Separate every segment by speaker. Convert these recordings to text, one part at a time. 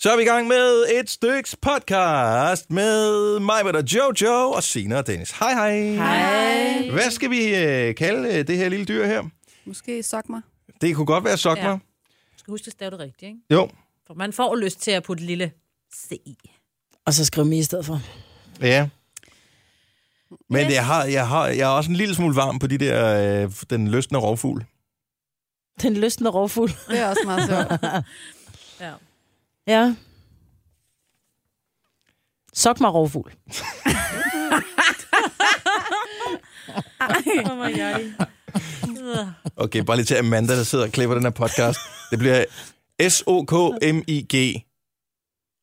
Speaker 1: Så er vi i gang med et styks podcast med mig, med og Jojo og Sina og Dennis. Hej, hej.
Speaker 2: Hej.
Speaker 1: Hvad skal vi øh, kalde øh, det her lille dyr her?
Speaker 2: Måske sok mig.
Speaker 1: Det kunne godt være sokmer. Ja.
Speaker 3: Ja. Du skal huske at stave det rigtigt, ikke?
Speaker 1: Jo.
Speaker 3: For man får lyst til at putte lille C i.
Speaker 4: Og så skriv mig i stedet for.
Speaker 1: Ja. Men yes. jeg, har, jeg, har, jeg er også en lille smule varm på de der, øh, den løsne rovfugl.
Speaker 4: Den lystende rovfugl.
Speaker 2: Det er også meget sjovt.
Speaker 3: Ja.
Speaker 4: Ja. Sok mig rovfugl.
Speaker 3: Oh my god.
Speaker 1: Okay, bare lige til Amanda, der sidder og klipper den her podcast. Det bliver S-O-K-M-I-G,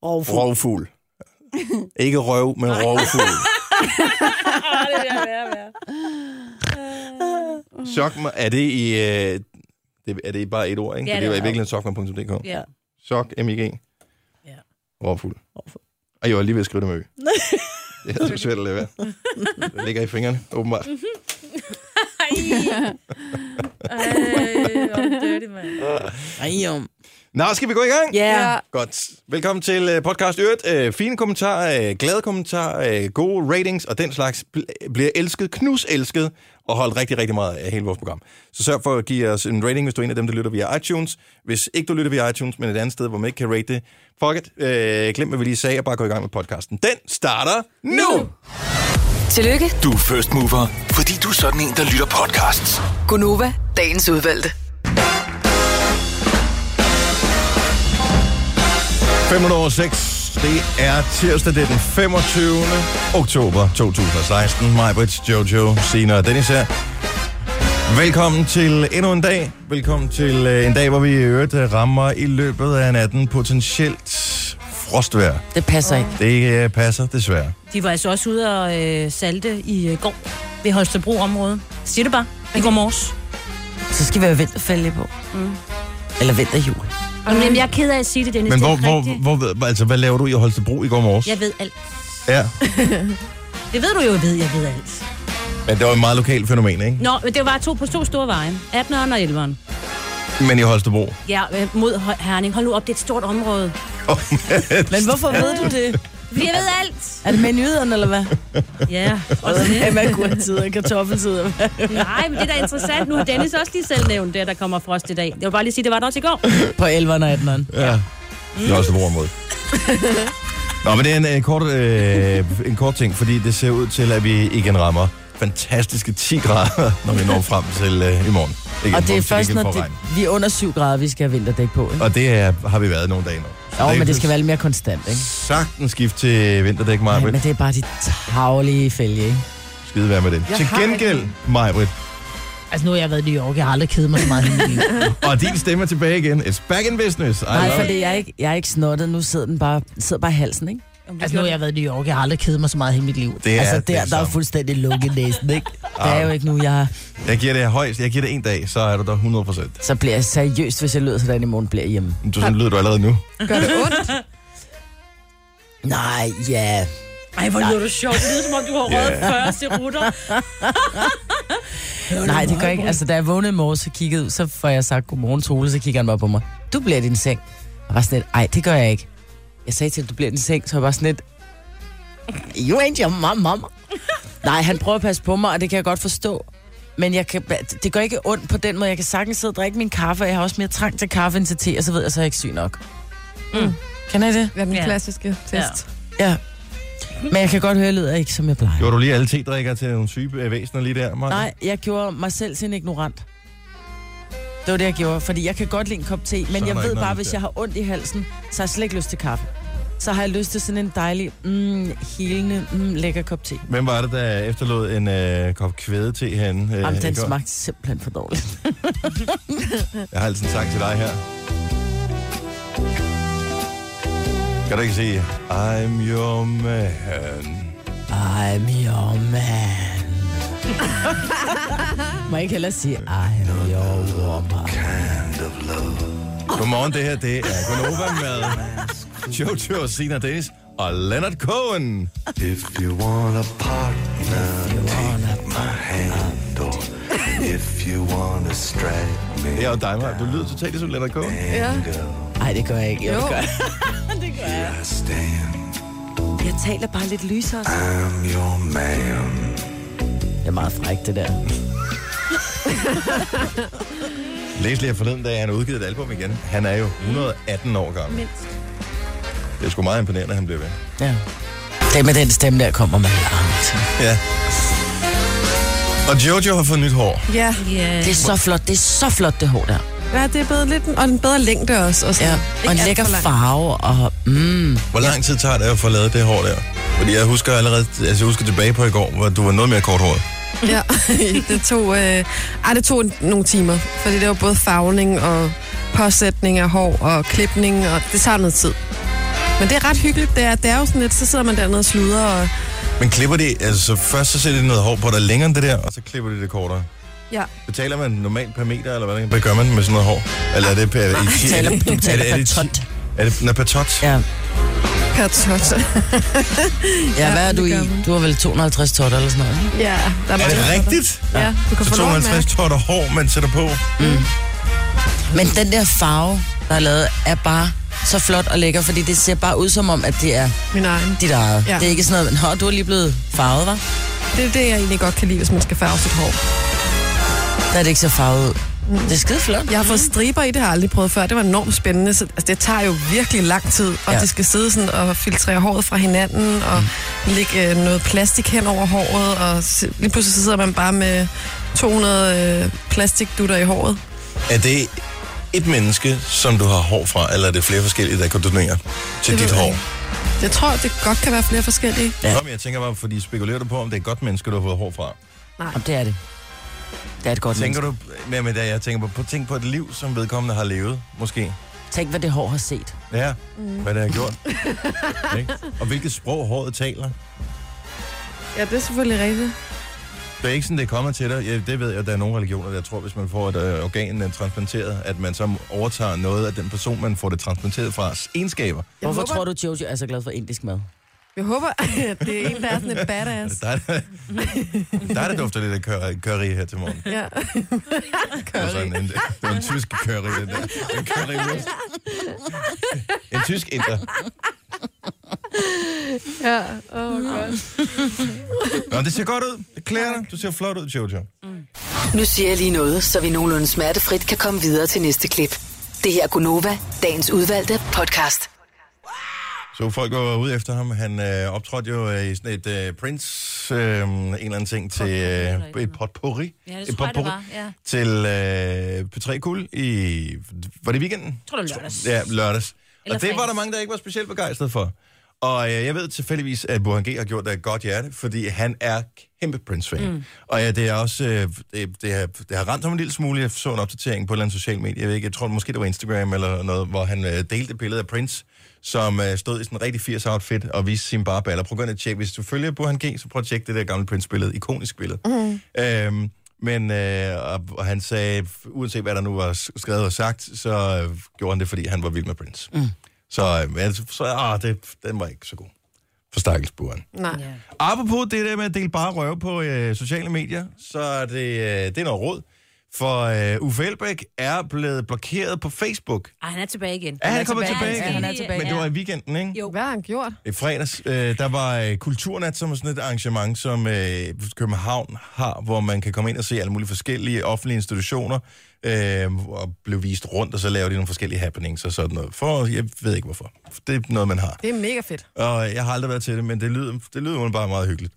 Speaker 4: Rovfugl. Rov.
Speaker 1: rovfugl. Ikke røv, men rovfugl.
Speaker 3: det er værre, værre.
Speaker 1: Sokmer, Mm. er det i... Øh, det, er det bare et ord, ikke?
Speaker 3: Ja,
Speaker 1: Ja, det,
Speaker 3: det
Speaker 1: var i
Speaker 3: er
Speaker 1: virkeligheden sokmer.dk.
Speaker 3: Ja.
Speaker 1: Sok, M-I-G.
Speaker 3: Ja.
Speaker 1: Råfuld.
Speaker 4: Rovfugl.
Speaker 1: Og jeg var lige ved at skrive det med ø. det er så svært at lade være. Det ligger i fingrene, åbenbart.
Speaker 3: Ej. Ej, hvor er det dirty, mand.
Speaker 4: Ej, om.
Speaker 1: Nå, skal vi gå i gang?
Speaker 4: Ja.
Speaker 1: Godt. Velkommen til øh, podcast Øret. Øh, Fine kommentarer, øh, glade kommentarer, øh, gode ratings og den slags bl- bliver elsket, knus elsket og holdt rigtig, rigtig meget af hele vores program. Så sørg for at give os en rating, hvis du er en af dem, der lytter via iTunes. Hvis ikke du lytter via iTunes, men et andet sted, hvor man ikke kan rate det, fuck it. Øh, glem, hvad vi lige sagde, og bare gå i gang med podcasten. Den starter nu! nu.
Speaker 5: Tillykke,
Speaker 6: Du er first mover, fordi du er sådan en, der lytter podcasts.
Speaker 5: Gunova, dagens udvalgte.
Speaker 1: 506. Det er tirsdag, det er den 25. oktober 2016. Mig, Brits, Jojo, Sina og Dennis her. Velkommen til endnu en dag. Velkommen til øh, en dag, hvor vi i øvrigt øh, rammer i løbet af natten potentielt frostvejr.
Speaker 4: Det passer ikke.
Speaker 1: Det øh, passer desværre.
Speaker 3: De var altså også ude og øh, salte i øh, går ved Holstebro-området. Siger det bare. I går morges.
Speaker 4: Så skal vi have vinterfælde på. Mm. Eller vinterhjul.
Speaker 3: Jamen, jeg er ked af at sige det, Dennis.
Speaker 1: Men
Speaker 3: Det er
Speaker 1: hvor,
Speaker 3: ikke rigtigt.
Speaker 1: hvor, hvor, altså, hvad laver du i Holstebro i går morges?
Speaker 3: Jeg ved alt.
Speaker 1: Ja.
Speaker 3: Det ved du jo, jeg ved, jeg ved alt.
Speaker 1: Men det var et meget lokalt fænomen, ikke?
Speaker 3: Nå, men det var to på to store veje. 18'eren og 11'eren.
Speaker 1: Men i Holstebro.
Speaker 3: Ja, øh, mod Hø- Herning. Hold nu op, det er et stort område.
Speaker 4: Men hvorfor ved du det?
Speaker 3: Fordi jeg ved alt.
Speaker 4: Er det med nyhederne, eller hvad?
Speaker 3: Ja.
Speaker 4: Agurktid og kartoffeltid.
Speaker 3: Nej, men det er da interessant. Nu har Dennis også lige selv nævnt det, at der kommer frost i dag. Jeg vil bare lige sige, det var der også i går.
Speaker 4: På 11'eren og 18'eren.
Speaker 1: Ja. Det er også et område. Nå, men det er en, en, kort, øh, en kort ting, fordi det ser ud til, at vi igen rammer fantastiske 10 grader, når vi når frem til øh, i morgen. Igen,
Speaker 4: Og det
Speaker 1: hvor vi
Speaker 4: er
Speaker 1: til
Speaker 4: først,
Speaker 1: gengæld får
Speaker 4: når det,
Speaker 1: regn.
Speaker 4: vi er under 7 grader, vi skal have vinterdæk på. Ikke?
Speaker 1: Og det er, har vi været nogle dage nu. Så
Speaker 4: Jo, men det skal
Speaker 1: kan
Speaker 4: være lidt mere konstant, ikke?
Speaker 1: Sagtens skift til vinterdæk,
Speaker 4: Ja,
Speaker 1: Majbrit.
Speaker 4: men det er bare de tavlige fælge, ikke?
Speaker 1: Skide være med det.
Speaker 4: Jeg
Speaker 1: til
Speaker 4: har
Speaker 1: gengæld, Majbrit,
Speaker 4: Altså, nu har jeg været i New York. Jeg har aldrig kedet mig så meget i mit liv.
Speaker 1: og din stemme er tilbage igen. It's back in business. I
Speaker 4: Nej,
Speaker 1: love it.
Speaker 4: fordi jeg er ikke, jeg er ikke snottet. Nu sidder den bare, sidder bare i halsen, ikke?
Speaker 7: Altså, nu har jeg været i New York, jeg har aldrig kedet mig så meget i hele mit liv.
Speaker 1: Det er
Speaker 4: altså,
Speaker 1: det
Speaker 4: der, der er
Speaker 1: samme.
Speaker 4: fuldstændig lukket næsen, ikke? Det er jo ikke nu, jeg har...
Speaker 1: Jeg giver det højst. Jeg giver det en dag, så er du der 100 procent.
Speaker 4: Så bliver jeg seriøst, hvis jeg lyder sådan i morgen, bliver jeg hjemme.
Speaker 1: Du, sådan lyder du allerede nu.
Speaker 2: Gør det ondt?
Speaker 4: Nej, ja.
Speaker 3: Ej, hvor lyder du sjovt. Det lyder, som om du har røget
Speaker 1: Ja.
Speaker 3: 40 serutter.
Speaker 4: Nej, det gør ikke. Altså, da jeg vågnede i morges og kiggede ud, så får jeg sagt, godmorgen Tole, så kigger han bare på mig. Du bliver i din seng. Og var sådan lidt, ej, det gør jeg ikke. Jeg sagde til, at du bliver i din seng, så var jeg bare sådan lidt, you ain't your mom, mama. Nej, han prøver at passe på mig, og det kan jeg godt forstå. Men jeg kan, det gør ikke ondt på den måde. Jeg kan sagtens sidde og drikke min kaffe, og jeg har også mere trang til kaffe end til te, og så ved jeg, så er jeg ikke syg nok.
Speaker 3: Mm.
Speaker 4: Mm. Kan jeg det?
Speaker 2: Det er den
Speaker 3: Ja.
Speaker 2: klassiske test.
Speaker 4: Ja. Men jeg kan godt høre, at jeg lyder ikke, som jeg plejer.
Speaker 1: Gjorde du lige alle tedrikker til nogle syge øh, væsener lige der, Maja?
Speaker 4: Nej, jeg gjorde mig selv til en ignorant. Det var det, jeg gjorde, fordi jeg kan godt lide en kop te,
Speaker 1: er
Speaker 4: men jeg
Speaker 1: der
Speaker 4: ved
Speaker 1: ikke
Speaker 4: bare,
Speaker 1: noget
Speaker 4: hvis
Speaker 1: der.
Speaker 4: jeg har ondt i halsen, så har jeg slet ikke lyst til kaffe. Så har jeg lyst til sådan en dejlig, mm, helende, mm, lækker kop te.
Speaker 1: Hvem var det, der efterlod en øh, kop kvæde til hende? Øh,
Speaker 4: Jamen,
Speaker 1: i
Speaker 4: den
Speaker 1: går?
Speaker 4: smagte simpelthen for dårligt.
Speaker 1: Jeg har altid sagt til dig her. Kan du ikke sige, I'm your man.
Speaker 4: I'm your man. Må jeg ikke hellere sige, I'm your woman.
Speaker 1: Godmorgen, det her det er Gunova med Jojo, Sina Dennis og Leonard Cohen.
Speaker 8: If you want a partner, take my hand. Or if you want to strike me
Speaker 1: Det er jo dig, Maja. Du lyder totalt som ligesom Leonard Cohen.
Speaker 2: Ja.
Speaker 8: down,
Speaker 4: Nej, det gør jeg ikke. Jo,
Speaker 2: Jo.
Speaker 4: det gør jeg.
Speaker 8: I stand.
Speaker 4: Jeg taler bare lidt lysere.
Speaker 8: I'm your man.
Speaker 4: Det er meget frækt, det der.
Speaker 1: Læs lige her forleden, da han udgivet et album igen. Han er jo 118 år gammel.
Speaker 3: Mindst.
Speaker 1: Det er sgu meget imponerende, at han bliver ved.
Speaker 4: Ja. Det med den stemme der kommer med.
Speaker 1: Ja. Og Jojo har fået nyt hår.
Speaker 9: Ja,
Speaker 3: Ja.
Speaker 4: Det er så flot, det er så flot, det hår der.
Speaker 9: ja det er blevet lidt, en- og en bedre længde også. Og, sådan.
Speaker 4: Ja,
Speaker 9: Ikke
Speaker 4: og en
Speaker 9: alt
Speaker 4: lækker
Speaker 9: for langt.
Speaker 4: farve, og mm,
Speaker 1: Hvor lang tid tager det at få lavet det hår der? Fordi jeg husker allerede, altså jeg husker tilbage på i går, hvor du var noget mere korthåret.
Speaker 9: Ja, det tog, øh, ej, det tog nogle timer, fordi det var både farvning og påsætning af hår og klipning, og det tager noget tid. Men det er ret hyggeligt, det er, det er jo sådan lidt, så sidder man dernede og sluder, og
Speaker 1: Men klipper de, altså først så sætter de noget hår på dig længere end det der, og så klipper de det kortere.
Speaker 9: ja.
Speaker 1: Betaler man normalt per meter, eller hvad, hvad gør man med sådan noget hår? Eller er det per... i ti-
Speaker 4: Betaler-
Speaker 1: er det-
Speaker 4: betaler
Speaker 1: er det- er det
Speaker 4: per
Speaker 1: ti- Er det når per tot?
Speaker 4: ja.
Speaker 9: Per tot.
Speaker 4: Ja, hvad er
Speaker 9: det
Speaker 4: du
Speaker 9: gør
Speaker 4: i?
Speaker 9: man.
Speaker 4: Du har vel 250 tot eller sådan noget? ikke?
Speaker 9: Ja, der
Speaker 1: Er det
Speaker 9: mange-
Speaker 1: rigtigt?
Speaker 9: Ja, du kan
Speaker 1: Så
Speaker 9: få lov at mærke.
Speaker 1: 250 totter hår, man sætter på.
Speaker 4: Men den der farve, der er lavet, er bare så flot og lækker, fordi det ser bare ud som om, at det er
Speaker 9: Min egen.
Speaker 4: dit eget. Ja.
Speaker 9: Ja.
Speaker 4: Det er ikke sådan noget, Nå, du er lige blevet farvet, var?
Speaker 9: Det er det, jeg egentlig godt kan lide, hvis man skal farve sit hår.
Speaker 4: Der er det ikke så farvet ud.
Speaker 9: Mm.
Speaker 4: Det er skide flot.
Speaker 9: Jeg har fået striber i, det har jeg aldrig prøvet før. Det var enormt spændende. Så, altså, det tager jo virkelig lang tid, og
Speaker 4: Ja.
Speaker 9: ja. de skal sidde sådan og filtrere håret fra hinanden, og mm. lægge øh, noget plastik hen over håret, og se, lige pludselig så sidder man bare med 200 øh, plastikdutter i håret.
Speaker 1: Er det et menneske, som du har hår fra, eller er det flere forskellige, der kan donere til dit
Speaker 9: Det ved jeg
Speaker 1: hår?
Speaker 9: ikke. Jeg tror, det godt kan være flere forskellige.
Speaker 1: Ja. Kom, jeg tænker bare, fordi spekulerer du på, om det er et godt menneske, du har fået hår fra?
Speaker 4: Jamen, det er det. Det er et godt
Speaker 1: Tænker
Speaker 4: menneske.
Speaker 1: du, ja, men da jeg tænker på, på, tænk på et liv, som vedkommende har levet, måske?
Speaker 4: Tænk, hvad det hår har set.
Speaker 1: Ja, mm. hvad det har gjort. Ikke? Og hvilket sprog håret taler.
Speaker 9: Ja, det er selvfølgelig rigtigt.
Speaker 1: Det er ikke sådan, det kommer til dig. Ja, det ved jeg, at der er nogle religioner, der tror, hvis man får et øh, organ øh, transplanteret, at man så overtager noget af den person, man får det transplanteret fra, egenskaber.
Speaker 9: Jeg
Speaker 4: Hvorfor
Speaker 9: håber-
Speaker 4: tror du, Jojo er så glad for indisk mad?
Speaker 9: Jeg håber, at det er en, der er sådan et badass.
Speaker 1: Der er, der, er det dufter lidt af curry, curry her til morgen.
Speaker 9: Ja.
Speaker 1: Det var sådan en, det var en tysk curry, den der. En curry wurst. En tysk inder.
Speaker 9: ja. Oh, godt.
Speaker 1: Nå, det ser godt ud. Det klæder dig. Du ser flot ud, Jojo.
Speaker 5: Nu siger jeg lige noget, så vi nogenlunde smertefrit kan komme videre til næste klip. Det her er Gunova, dagens udvalgte podcast.
Speaker 1: Så folk var ude efter ham. Han øh, optrådte jo øh, i sådan et øh, Prince, øh, en eller anden ting til øh, et potpourri.
Speaker 3: Ja, det
Speaker 1: Et
Speaker 3: tror jeg, det
Speaker 1: potpourri
Speaker 3: var, ja.
Speaker 1: Til øh, P3 Kul i... Var det i weekenden?
Speaker 3: Tror du lørdags?
Speaker 1: Ja, lørdags.
Speaker 3: Eller
Speaker 1: og det var
Speaker 3: fredags.
Speaker 1: der mange, der ikke var specielt begejstret for. Og øh, jeg ved tilfældigvis, at Burhan G har gjort det af et godt hjerte, fordi han er kæmpe Prince-fan. Mm. Og ja, det er også, øh, det, det, har, det har ramt ham en lille smule. Jeg så en opdatering på et eller andet social medie. Jeg, ved ikke, jeg tror måske, det var Instagram eller noget, hvor han øh, delte et billede af Prince, som øh, stod i sådan en rigtig 80'er outfit og viste sin bare baller. Prøv at gå ind og tjek. Hvis du følger Burhan G, så prøv at tjekke det der gamle Prince-billede. Ikonisk billede.
Speaker 3: Mhm.
Speaker 1: Mm. Øhm, men øh, og, og han sagde, uanset hvad der nu var s- skrevet og sagt, så øh, gjorde han det, fordi han var vild med Prince. Mm. Så, øh, altså, så ah, det, den var ikke så god for stakkelsburen.
Speaker 9: Nej.
Speaker 1: Apropos det der med at dele bare røve på øh, sociale medier, så er det, øh, det er noget råd. For øh, Uffe Elbæk er blevet blokeret på Facebook.
Speaker 3: Ej, han er tilbage igen.
Speaker 1: Er han, han kommet tilbage?
Speaker 3: Ja,
Speaker 1: igen?
Speaker 3: han er
Speaker 1: Men
Speaker 3: tilbage.
Speaker 1: det var i weekenden, ikke?
Speaker 3: Jo.
Speaker 9: Hvad har han gjort?
Speaker 1: I fredags, øh, der var øh, Kulturnat, som er sådan et arrangement, som øh, København har, hvor man kan komme ind og se alle mulige forskellige offentlige institutioner, øh, og blive vist rundt, og så laver de nogle forskellige happenings og sådan noget. For, jeg ved ikke hvorfor. Det er noget, man har.
Speaker 9: Det er mega fedt.
Speaker 1: Og jeg har aldrig været til det, men det lyder, det lyder bare meget hyggeligt.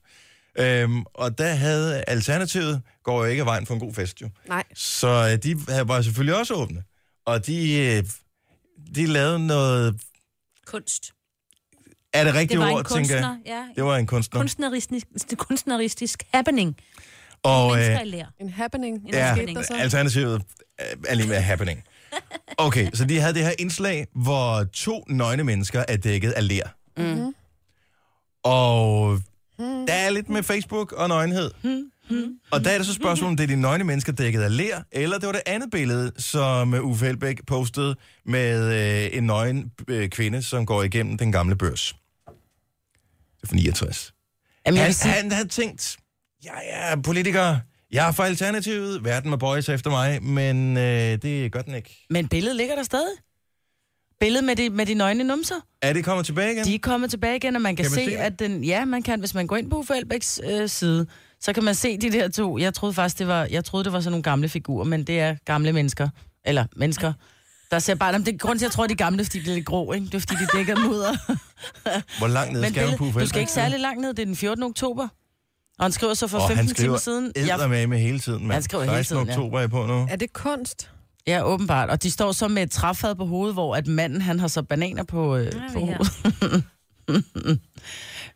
Speaker 1: Øhm, og der havde Alternativet, går jo ikke af vejen for en god fest jo.
Speaker 9: Nej.
Speaker 1: Så øh, de havde- var selvfølgelig også åbne. Og de, øh, de lavede noget...
Speaker 3: Kunst.
Speaker 1: Er det
Speaker 3: Det
Speaker 1: rigtige
Speaker 3: var en
Speaker 1: ord, tænker
Speaker 3: kunstner.
Speaker 1: jeg?
Speaker 3: Ja.
Speaker 1: Det var en kunstner.
Speaker 3: Kunstneristisk, kunstneristisk happening.
Speaker 1: og øh,
Speaker 3: Mennesker i lær.
Speaker 9: En happening.
Speaker 1: ja,
Speaker 9: Hvad skete der så?
Speaker 1: Alternativet øh, er lige med happening. Okay, så de havde det her indslag, hvor to nøgne mennesker er dækket af ler. Mm. Og der er lidt med Facebook og nøgenhed. Og der er det så spørgsmålet, om det er de nøgne mennesker dækket af ler, eller det var det andet billede, som øh, Uffe Elbæk postede med øh, en nøgen øh, kvinde, som går igennem den gamle børs. Det er fra 69.
Speaker 4: Jamen, jeg
Speaker 1: Han,
Speaker 4: vil sige,
Speaker 1: han havde tænkt, jeg er politiker, jeg er fra Alternativet, verden må bøje sig efter mig, men øh, det gør den ikke.
Speaker 4: men billedet ligger der stadig. Billedet med de, med de nøgne numser.
Speaker 1: Er det kommet tilbage igen?
Speaker 4: De er kommet tilbage igen, og man kan,
Speaker 1: Kan man
Speaker 4: se,
Speaker 1: se det?
Speaker 4: at den... Ja, man kan. Hvis man går ind på Uffe Elbæks øh, side, så kan man se de der to. Jeg troede faktisk, det var, jeg troede, det var sådan nogle gamle figurer, men det er gamle mennesker. Eller mennesker. Der ser bare... Jamen, det er grunden til, at jeg tror, de er gamle, fordi de er lidt grå, ikke? Det er, fordi de dækker mudder.
Speaker 1: Hvor langt ned
Speaker 4: Men
Speaker 1: skal man på
Speaker 4: billede,
Speaker 1: Uffe
Speaker 4: du skal ikke
Speaker 1: Elbæk?
Speaker 4: særlig langt ned. Det er den 14. oktober. Og han skriver så for
Speaker 1: Og
Speaker 4: 15
Speaker 1: han skriver
Speaker 4: timer siden. Jeg,
Speaker 1: eddermame med hele tiden, mand.
Speaker 4: Han skriver hele
Speaker 1: 16.
Speaker 4: tiden, ja.
Speaker 1: oktober er jeg på nu.
Speaker 9: Er det kunst?
Speaker 4: ja, åbenbart. Og de står så med et træfad på hovedet, hvor at manden, han har så bananer på, øh,
Speaker 3: er
Speaker 4: på
Speaker 3: vi her.
Speaker 4: hovedet. Men øh, billedet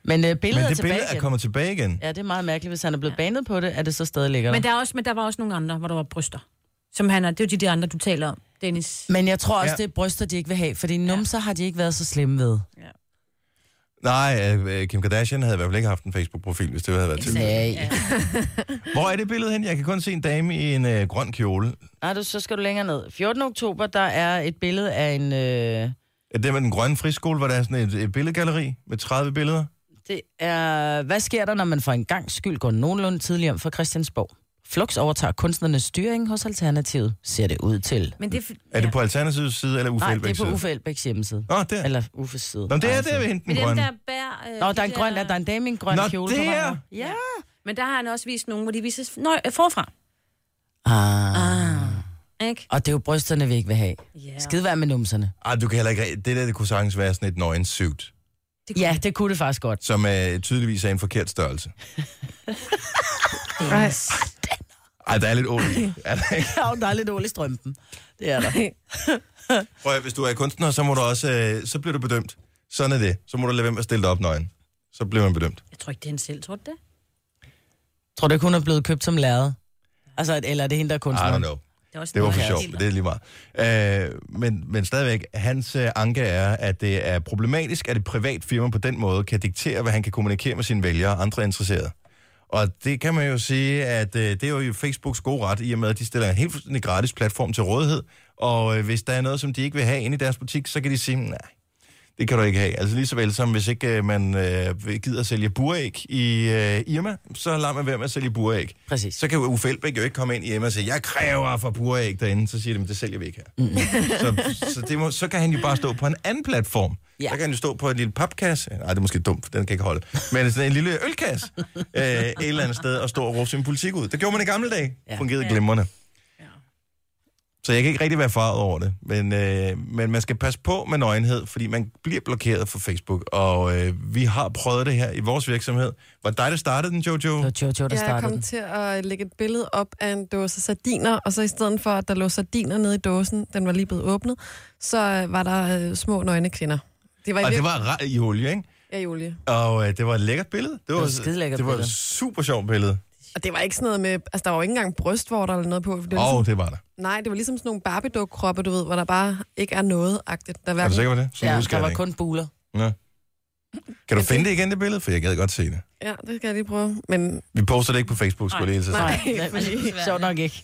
Speaker 1: Men
Speaker 4: er
Speaker 1: det
Speaker 4: tilbage
Speaker 1: billede er
Speaker 4: igen.
Speaker 1: kommet tilbage igen.
Speaker 4: Ja, det er meget mærkeligt. Hvis han er blevet ja. banet på det, er det så stadig lækkert.
Speaker 3: Men
Speaker 4: Men,
Speaker 3: der, er også, men der var også nogle andre, hvor der var bryster. Som han er, det er jo de der andre, du taler om, Dennis.
Speaker 4: men jeg tror også,
Speaker 1: Ja.
Speaker 4: ja. det er bryster, de ikke vil have, fordi numser har de ikke været så slemme ved.
Speaker 1: Nej, øh, Kim Kardashian havde i hvert fald ikke haft en Facebook-profil, hvis det havde været til.
Speaker 4: Nej.
Speaker 1: Hvor er det billede hen? Jeg kan kun se en dame i en øh, grøn kjole.
Speaker 4: Nej, du, så skal du længere ned. 14. oktober, der er et billede af en... Øh,
Speaker 1: Er det med den grønne friskole, hvor der er sådan et, et billedgalleri med 30 billeder?
Speaker 4: det er... Hvad sker der, når man for en gang skyld går nogenlunde tidligere om fra Christiansborg? Flux overtager kunstnernes styring hos Alternativet, ser det ud til.
Speaker 3: Men det, er f-
Speaker 1: Er det på Alternativets side eller Uffe
Speaker 4: Nej, det
Speaker 1: Elbæks
Speaker 4: er på
Speaker 1: side?
Speaker 4: Uffe Elbæks hjemmeside.
Speaker 1: Nå, der.
Speaker 4: Eller Uffes side.
Speaker 1: Nå, det er
Speaker 4: Ej,
Speaker 1: der ved hende, den
Speaker 3: Men dem,
Speaker 1: grønne.
Speaker 3: der bærer... Øh,
Speaker 4: Nå,
Speaker 3: de
Speaker 4: der er en grøn, der er en dame i en grøn
Speaker 1: Nå,
Speaker 4: kjole.
Speaker 1: det
Speaker 4: på vej
Speaker 1: er-
Speaker 4: op. Ja.
Speaker 3: Men der har han også vist nogle, hvor de viser nøj, forfra.
Speaker 4: Ah.
Speaker 3: Ikke?
Speaker 4: Og det er jo brysterne, vi ikke vil have.
Speaker 3: Ja.
Speaker 4: Skide være med numserne.
Speaker 1: Ej, du kan heller ikke... Det der, det kunne sagtens være sådan et nøgensuit,
Speaker 4: Ja, det kunne det faktisk godt.
Speaker 1: som øh, tydeligvis er en forkert størrelse.
Speaker 9: Nej.
Speaker 1: Ej, der er lidt ål. i. Er der ikke?
Speaker 4: Ja, der er lidt ål i strømpen. Det er der.
Speaker 1: Prøv at, høre, hvis du er kunstner, så, må du også, øh, så bliver du bedømt. Sådan er det. Så må du lade være med at stille dig op nøgen. Så bliver man bedømt.
Speaker 3: Jeg tror ikke, det er han selv, tror du det?
Speaker 4: Tror du ikke, hun er blevet købt som lærred? Altså, at- eller er det hende, der
Speaker 1: I
Speaker 4: er kunstner?
Speaker 1: don't know.
Speaker 3: Det, er også
Speaker 1: Det var for
Speaker 3: noget,
Speaker 1: sjovt,
Speaker 3: der
Speaker 1: men det er lige meget. Øh, men, men stadigvæk, hans øh, anke er, at det er problematisk, at et privat firma på den måde kan diktere, hvad han kan kommunikere med sine vælgere og andre interesserede. Og det kan man jo sige, at øh, det er jo Facebooks gode ret, i og med, at de stiller en helt fuldstændig gratis platform til rådighed. Og øh, hvis der er noget, som de ikke vil have inde i deres butik, så kan de sige, nej, det kan du ikke have. Altså lige så vel som hvis ikke øh, man øh, gider at sælge buræg i øh, Irma, så lader man være med at sælge buræg.
Speaker 4: Præcis.
Speaker 1: Så kan Uffe Elbæk jo ikke komme ind i Irma og sige, jeg kræver for buræg derinde. Så siger de, "Men det sælger vi ikke her.
Speaker 4: Mm-hmm.
Speaker 1: Mm. så, så, det må, så kan han jo bare stå på en anden platform. Ja.
Speaker 4: Ja.
Speaker 1: Der kan han jo stå på en lille papkasse. Nej, det er måske dumt, for den kan ikke holde. Men sådan en lille ølkasse øh, et eller andet sted og stå og råbe sin politik ud. Det gjorde man i gamle dage. Ja.
Speaker 4: Ja.
Speaker 1: Fungerede glimrende. Så jeg kan ikke rigtig være farvet over det. Men, øh, men man skal passe på med nøgenhed, fordi man bliver blokeret fra Facebook. Og øh, vi har prøvet det her i vores virksomhed. Var det dig, der startede den, Jojo?
Speaker 4: Det var Jojo, der
Speaker 9: Jeg
Speaker 4: startede
Speaker 9: kom
Speaker 4: den.
Speaker 9: til at lægge et billede op af en dåse sardiner, og så i stedet for, at der lå sardiner nede i dåsen, den var lige blevet åbnet, så øh, var der øh, små nøgne kvinder. Det var i,
Speaker 1: Og det
Speaker 9: var...
Speaker 1: var ra- i olie, ikke?
Speaker 9: Ja, i olie.
Speaker 1: Og øh, det var et lækkert billede. Det
Speaker 4: var et skidelækkert
Speaker 1: Det var et
Speaker 4: billede.
Speaker 1: super sjovt billede.
Speaker 9: Og det var ikke sådan noget med... Altså, der var jo ikke engang brystvorter eller noget på. Det var
Speaker 1: Åh,
Speaker 9: ligesom,
Speaker 1: oh, det var der.
Speaker 9: Nej, det var ligesom sådan nogle barbie du ved, hvor der bare ikke er noget-agtigt. Der
Speaker 1: Er du
Speaker 9: hverken-
Speaker 1: sikker på det? Sådan
Speaker 4: Ja,
Speaker 1: husker
Speaker 4: der
Speaker 1: jeg
Speaker 4: var
Speaker 1: det
Speaker 4: kun buler.
Speaker 1: ikke. Nå. Kan du finde det igen, det billede? For jeg gad godt se det.
Speaker 9: Ja, det skal jeg lige prøve. Men
Speaker 1: Vi poster det ikke på Facebook, skulle jeg lige hilse at sige.
Speaker 4: Nej, men sjovt nok ikke.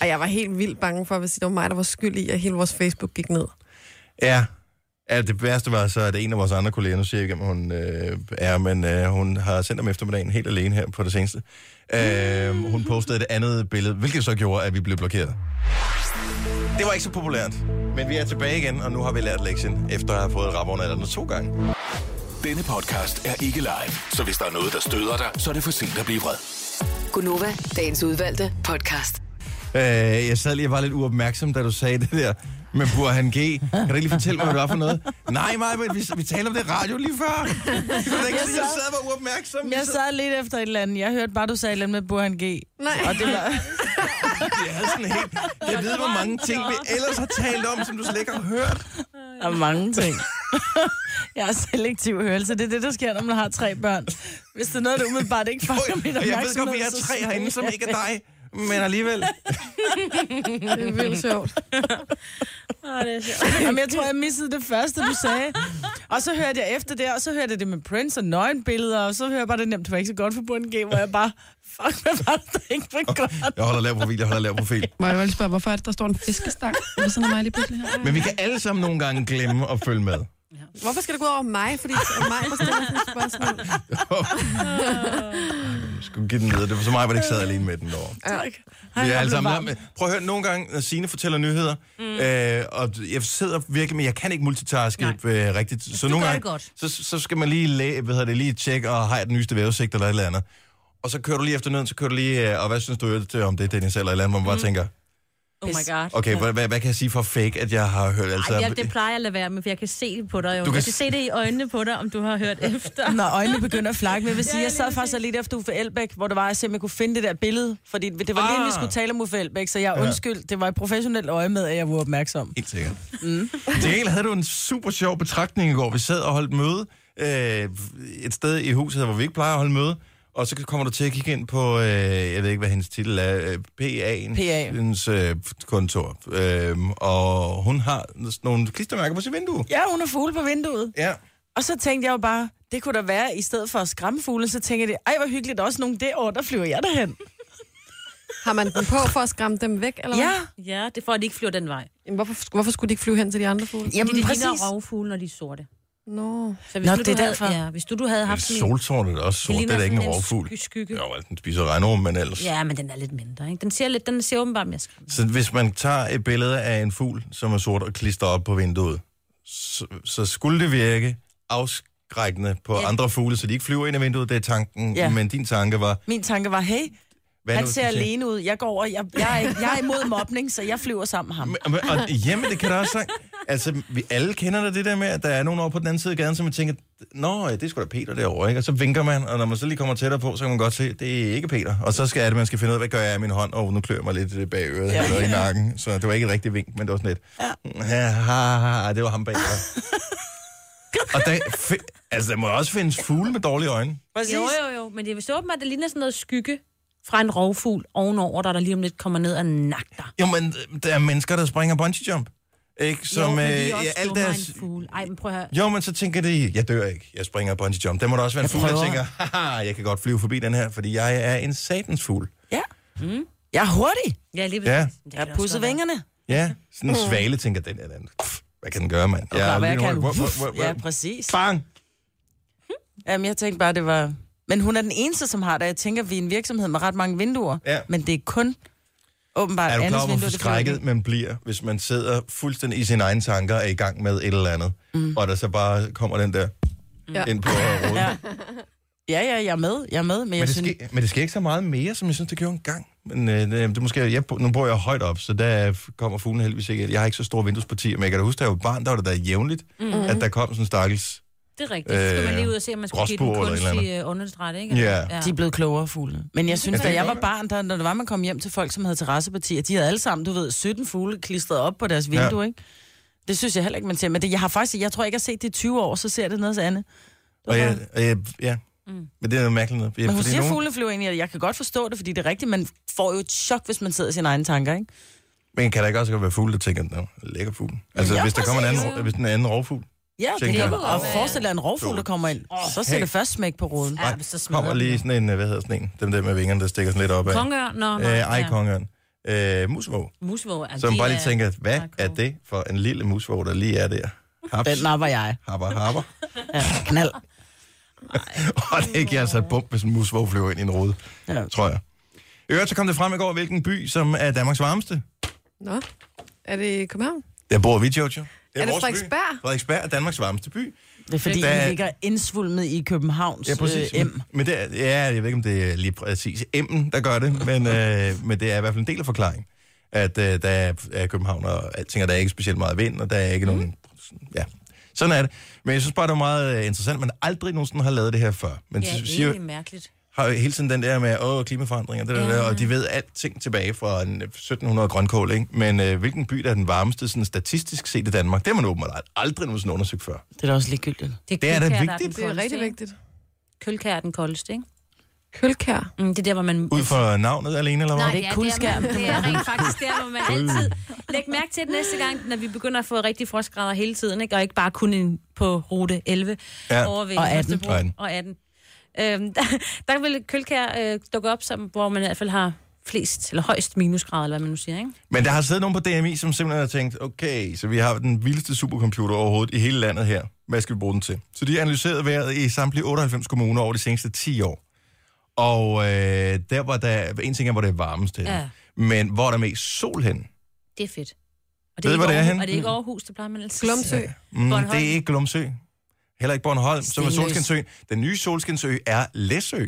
Speaker 9: og jeg var helt vildt bange for, hvis det var mig, der var skyld i, at hele vores Facebook gik ned.
Speaker 1: Ja. ja, det værste var så, at en af vores andre kolleger, nu siger jeg ikke, hvem hun øh, er, men øh, hun har sendt om eftermiddagen helt alene her på det seneste. Øh, hun postede et andet billede, hvilket så gjorde, at vi blev blokeret. Det var ikke så populært, men vi er tilbage igen, og nu har vi lært lektien, efter at have fået rapperne eller to gange.
Speaker 6: Denne podcast er ikke live, så hvis der er noget, der støder dig, så er det for sent at blive vred.
Speaker 5: Gunova, dagens udvalgte podcast.
Speaker 1: Øh, jeg sad lige og var lidt uopmærksom, da du sagde det der med Burhan G. Kan du ikke lige fortælle mig, hvad det var for noget? Nej, Maja, men vi, vi talte om det i radio lige før. Kan du da ikke sige, jeg sad og var uopmærksom?
Speaker 4: Jeg sad lidt efter et eller andet. Jeg hørte bare, du sagde et eller andet med Burhan G.
Speaker 9: Nej.
Speaker 4: Og det var...
Speaker 1: Jeg havde sådan helt... Jeg ved, hvor mange ting, vi ellers har talt om, som du slet ikke har hørt.
Speaker 4: Der er mange ting. Jeg har selektiv hørelse. Det er det, der sker, når man har tre børn. Hvis det er noget, der umiddelbart ikke fanger
Speaker 1: Og
Speaker 4: min
Speaker 1: jeg ved
Speaker 4: opmærksomhed,
Speaker 1: godt, vi er
Speaker 4: så
Speaker 1: tre
Speaker 4: siger
Speaker 1: herinde,
Speaker 4: jeg
Speaker 1: som ikke er
Speaker 4: det.
Speaker 1: dig. Men alligevel.
Speaker 9: Det er vildt sjovt.
Speaker 4: Jamen, jeg tror, jeg missede det første, du sagde. Og så hørte jeg efter det, og så hørte jeg det med Prince og nøgenbilleder, og så hører jeg bare det nemt, det var ikke så godt for Burhan G, hvor jeg bare, fuck, hvad var det, der ikke var godt?
Speaker 1: Jeg holder lav profil, jeg holder lav profil.
Speaker 2: Må jeg vel spørge, hvorfor er det, der står en fiskestang ved siden af mig lige pludselig her?
Speaker 1: Men vi kan alle sammen nogle gange glemme at følge med.
Speaker 9: Hvorfor skal det gå over mig? Fordi mig, der stiller sådan et spørgsmål.
Speaker 1: skulle give den videre. Det var så meget, at jeg ikke sad alene med den derovre.
Speaker 2: Tak.
Speaker 1: Vi er alle sammen om. Prøv at høre, nogle gange, når Signe fortæller nyheder, mm. øh, og jeg sidder virkelig, men jeg kan ikke multitaske øh, rigtigt. Så
Speaker 3: du
Speaker 1: nogle
Speaker 3: gør
Speaker 1: gange,
Speaker 3: det godt.
Speaker 1: Så, så skal man lige, læ- hvad hedder det, lige tjekke, og har jeg den nyeste vejrudsigt eller et eller andet. Og så kører du lige efter nøden, så kører du lige, øh, og hvad synes du i øvrigt om det, Dennis, eller et eller andet, hvor
Speaker 3: Mm.
Speaker 1: man bare tænker,
Speaker 3: Oh my god.
Speaker 1: okay, hvad, hvad, hvad kan jeg sige for fake, at jeg har hørt? Altså,
Speaker 3: Ej, jeg, det plejer jeg at lade være med, for jeg kan se det på dig.
Speaker 1: Du
Speaker 3: Jo.
Speaker 1: kan
Speaker 3: Du kan jeg kan
Speaker 1: s-
Speaker 3: se det i øjnene på dig, om du har hørt efter.
Speaker 4: Når øjnene begynder at flakke, men jeg vil sige,
Speaker 3: Ja,
Speaker 4: jeg sad
Speaker 3: lige
Speaker 4: faktisk og lidt efter Uffe Elbæk, hvor det var, at jeg simpelthen kunne finde det der billede, fordi det var lige, inden vi
Speaker 1: Ah.
Speaker 4: skulle tale om Uffe Elbæk, så jeg er undskyld, det var et professionelt øje med, at jeg var opmærksom.
Speaker 1: Helt sikkert. Mm. Til gengæld havde du en super sjov betragtning i går. Vi sad og holdt møde øh, et sted i huset, hvor vi ikke plejer at holde møde. Og så kommer du til at kigge ind på, øh, jeg ved ikke, hvad hendes titel er, øh, PA'ens
Speaker 4: PA.
Speaker 1: hendes, øh, kontor. Øh, og hun har sådan nogle klistermærker på sit vindue.
Speaker 4: Ja, hun er fugle på vinduet.
Speaker 1: Ja.
Speaker 4: Og så tænkte jeg jo bare, det kunne da være, i stedet for at skræmme fugle, så tænkte jeg, ej, hvor hyggeligt, der er også nogen derovre, der flyver jeg derhen.
Speaker 9: Har man den på for at skræmme dem væk, eller hvad?
Speaker 4: Ja,
Speaker 3: Ja, det får at de ikke flyver den vej.
Speaker 9: Jamen, hvorfor, hvorfor skulle de ikke flyve hen til de andre fugle?
Speaker 4: jamen
Speaker 3: Fordi de
Speaker 4: præcis.
Speaker 3: ligner rovfugle, når de er sorte.
Speaker 9: Nå.
Speaker 3: Så hvis
Speaker 4: Nå,
Speaker 3: nu,
Speaker 4: det er
Speaker 3: du havde,
Speaker 4: derfor.
Speaker 3: Ja, hvis du, du havde
Speaker 1: Men
Speaker 3: haft sådan en-
Speaker 1: soltårnet er også sort, det,
Speaker 3: ligner
Speaker 1: er da ikke en
Speaker 3: sådan
Speaker 1: rovfugl.
Speaker 3: sky- skygge.
Speaker 1: Jo, altså, den spiser regnorm, men ellers.
Speaker 3: Ja, men den er lidt mindre, ikke? Den ser, lidt, den ser åbenbart mere skræmmende.
Speaker 1: Så hvis man tager et billede af en fugl, som er sort og klister op på vinduet, så, så skulle det virke afskrækkende på ja. andre fugle, så de ikke flyver ind i vinduet, det er tanken. Ja.
Speaker 4: Ja.
Speaker 1: Men din tanke var...
Speaker 4: Min tanke var, hey,
Speaker 1: Hvad er
Speaker 4: han
Speaker 1: det,
Speaker 4: ser
Speaker 1: du siger?
Speaker 4: alene ud, jeg går over, jeg, jeg, er, ikke- jeg er imod mobning, så jeg flyver sammen med ham.
Speaker 1: Men- men- Og, jamen, det kan da også sagt. Altså, vi alle kender da det der med, at der er nogen over på den anden side af gaden, som man tænker, nå, ja, det er sgu da Peter derovre, ikke? Og så vinker man, og når man så lige kommer tættere på, så kan man godt se, det er ikke Peter. Og så skal er det, man skal finde ud af, hvad gør jeg af min hånd? Og oh, nu klør jeg mig lidt øh, bag øret ja. eller i nakken. Så det var ikke et rigtigt vink, men det var sådan lidt. "Mm, Ja. Ha, ha, ha, det var ham bag øret. og der, fi- altså, der må også findes fugle med dårlige øjne.
Speaker 4: Præcis.
Speaker 3: Jo, jo, jo, men det er vist åbenbart, at det ligner sådan noget skygge fra en rovfugl ovenover, der, der lige om lidt kommer ned og nakker.
Speaker 1: Jo, men øh, der er mennesker, der springer bungee jump. Ikke? Som,
Speaker 3: jo, men
Speaker 1: øh,
Speaker 3: de er også
Speaker 1: ja,
Speaker 3: dummere
Speaker 1: alt
Speaker 3: end
Speaker 1: deres,
Speaker 3: en fugle. Ej, men prøv at høre.
Speaker 1: Jo, men så tænker de, jeg dør ikke, jeg springer bungee jump. Der må der også være en
Speaker 4: Jeg
Speaker 1: fugl, der
Speaker 4: prøver.
Speaker 1: tænker, haha, jeg kan godt flyve forbi den her, fordi jeg er en satans fugl.
Speaker 4: Ja. Jeg er hurtig.
Speaker 3: Ja, lige
Speaker 1: Ja.
Speaker 3: præcis. Det Mm. kan
Speaker 4: Jeg
Speaker 3: da
Speaker 4: har
Speaker 3: også
Speaker 4: pudset
Speaker 3: godt være.
Speaker 4: vingerne.
Speaker 1: Ja, sådan
Speaker 4: Mm.
Speaker 1: en svale tænker den her, den, pff, hvad kan den gøre, mand?
Speaker 4: Ja,
Speaker 1: er
Speaker 4: hvad jeg
Speaker 1: lynhurtig.
Speaker 4: kan.
Speaker 1: Wow, wow, wow, wow.
Speaker 4: Ja, præcis.
Speaker 1: Bang!
Speaker 4: Jamen, jeg tænkte bare, det var... Men hun er den eneste, som har det. Jeg tænker, vi er en virksomhed med ret mange vinduer.
Speaker 1: Ja.
Speaker 4: Men det er kun åbenbart
Speaker 1: Er du klar
Speaker 4: andres
Speaker 1: over, hvor
Speaker 4: vindue, det
Speaker 1: forskrækket man bliver, hvis man sidder fuldstændig i sine egne tanker og er i gang med et eller andet, mm. og der så bare kommer den der
Speaker 9: Ja.
Speaker 1: ind på øh, roden?
Speaker 4: Ja. Ja, ja, jeg er med. Jeg er med, men,
Speaker 1: Men
Speaker 4: jeg
Speaker 1: det,
Speaker 4: synes...
Speaker 1: sker, men det sker ikke så meget mere, som jeg synes, det gjorde engang. Men øh, det, det er måske, jeg, bo- nu bor jeg højt op, så der kommer fuglen heldigvis ikke. Jeg har ikke så store vinduespartier, men jeg kan da huske, da jeg var barn, der var det da jævnligt,
Speaker 4: Mhm.
Speaker 1: mm. at der kom sådan en stakkels...
Speaker 3: Det er rigtigt. Så skal man
Speaker 1: Øh,
Speaker 3: lige ud og se, om man skulle give den
Speaker 1: gråspurv eller et eller
Speaker 3: kunstig øh, understræt, ikke?
Speaker 1: Ja.
Speaker 4: De er blevet klogere fugle. Men jeg synes,
Speaker 1: Ja,
Speaker 4: da
Speaker 1: det
Speaker 4: jeg
Speaker 1: kan
Speaker 4: var
Speaker 1: godt
Speaker 4: barn, der, når det var, man kom hjem til folk, som havde terrassepartier, de havde alle sammen, du ved, 17 fugle klistret op på deres vindue, ikke? Det synes jeg heller ikke, man ser. Men det, jeg har faktisk, jeg tror ikke, jeg har set det i 20 år, så ser det noget andet.
Speaker 1: Og jeg, og jeg, ja, mm. men det er noget mærkeligt noget. Ja,
Speaker 4: Men hun
Speaker 1: fordi
Speaker 4: siger
Speaker 1: nogen-
Speaker 4: fugle flyver ind i, og jeg kan godt forstå det, fordi det er rigtigt. Man får jo et chok, hvis man sidder i sine egne tanker, ikke?
Speaker 1: Men kan der ikke også godt være fugle, der tænker, nå, lækker fugl. Altså, ja,
Speaker 4: Ja,
Speaker 1: hvis der kommer en
Speaker 4: præcis.
Speaker 1: anden, hvis den er en anden rovfugl,
Speaker 4: Ja, det
Speaker 1: Tænker
Speaker 4: kan
Speaker 1: jeg.
Speaker 4: og forestil dig en rovfugl, der kommer ind. Så ser
Speaker 1: hey.
Speaker 4: det først smæk på roden.
Speaker 3: Ja, men så smadrer
Speaker 1: kommer
Speaker 3: den.
Speaker 1: lige sådan en, øh, hvad hedder sådan en, dem der med vingerne, der stikker sådan lidt op af.
Speaker 3: Kongeør, når man...
Speaker 1: Øh, ej, kongeørn. Øh, musvåg,
Speaker 3: Musvåg, altså,
Speaker 1: som
Speaker 3: det
Speaker 1: bare
Speaker 3: er-
Speaker 1: lige tænker, hvad
Speaker 3: meget
Speaker 1: er
Speaker 3: cool.
Speaker 1: det for en lille musvåg, der lige er der? Haps,
Speaker 4: Den napper jeg.
Speaker 1: happer, happer.
Speaker 4: Ja, knald.
Speaker 1: Og det giver altså et bump, hvis en musvåg flyver ind i en rode,
Speaker 4: Ja.
Speaker 1: tror jeg. I øvrigt, så kom det frem i går, hvilken by, som er Danmarks varmeste.
Speaker 9: Nå. Er det i København?
Speaker 1: Der bor vi, Jojo.
Speaker 9: Er det
Speaker 1: vores by.
Speaker 9: Frederiksberg?
Speaker 1: Frederiksberg er Danmarks varmeste by.
Speaker 4: Det er fordi,
Speaker 1: Der-
Speaker 4: den ligger indsvulmet i Københavns øh, M.
Speaker 1: Men, men det er, ja, jeg ved ikke, om det er lige præcis M'en, der gør det, men, øh, men det er i hvert fald en del af forklaringen, at øh, der er, er København og alting, og der er ikke specielt meget vind, og der er ikke mm. nogen...
Speaker 9: Mhm.
Speaker 1: Ja, sådan er det. Men jeg synes bare, det var meget øh, interessant, man aldrig nogensinde har lavet det her før. Men
Speaker 3: Ja,
Speaker 1: ja,
Speaker 3: det er
Speaker 1: siger,
Speaker 3: egentlig mærkeligt.
Speaker 1: har jo hele tiden den der med, åh, klimaforandringer, det der, der, og de ved alting tilbage fra en 1700 grønkål, ikke? Men øh, hvilken by, der er den varmeste, sådan statistisk set i Danmark, det har man åbenbart aldrig nogensinde undersøgt før.
Speaker 4: Det er da også ligegyldigt.
Speaker 1: Det er da
Speaker 3: Kølkær, der
Speaker 1: vigtigt.
Speaker 3: den
Speaker 9: Det er
Speaker 3: koldeste,
Speaker 9: rigtig
Speaker 3: ikke?
Speaker 9: vigtigt.
Speaker 3: Kølkær er den koldeste, ikke?
Speaker 9: Kølkær.
Speaker 3: Mm, det er der, hvor man...
Speaker 1: Ud fra navnet alene, eller hvad?
Speaker 3: Nej,
Speaker 4: det
Speaker 3: ja,
Speaker 4: ikke kuldskærm?
Speaker 3: Det er, det er rent faktisk der, hvor man altid... Læg mærke til det næste gang, når vi begynder at få rigtig frostgrader hele tiden, ikke? og ikke bare kun en på rute 11
Speaker 1: Ja.
Speaker 3: ja. over ved
Speaker 4: Og 18.
Speaker 3: Holstebro
Speaker 1: Og 18.
Speaker 3: Og 18. Øhm, der, der vil Kølkær øh, dukke op, som, hvor man i hvert fald har flest, eller højst minusgrader, eller hvad man nu siger, ikke?
Speaker 1: Men der har siddet nogen på DMI, som simpelthen har tænkt, okay, så vi har den vildeste supercomputer overhovedet i hele landet her. Hvad skal vi bruge den til? Så de har analyseret vejret i samtlige 98 kommuner over de seneste 10 år. Og øh, der var der, en ting er, hvor det er varmest henne. Ja.
Speaker 3: Ja.
Speaker 1: Men hvor er der mest sol henne?
Speaker 3: Det er fedt. Og
Speaker 1: Ved
Speaker 3: er
Speaker 1: du, hvor
Speaker 3: ikke
Speaker 1: det er
Speaker 3: Aarhus-
Speaker 1: henne?
Speaker 3: Og det er ikke Aarhus, det plejer man altid.
Speaker 9: Glumsø.
Speaker 1: Mm, det
Speaker 3: Bornholm.
Speaker 1: er ikke Glumsø. Heller ikke Bornholm, som er
Speaker 4: Stenløs.
Speaker 1: Solskinsø. Den nye Solskinsø er Læsø.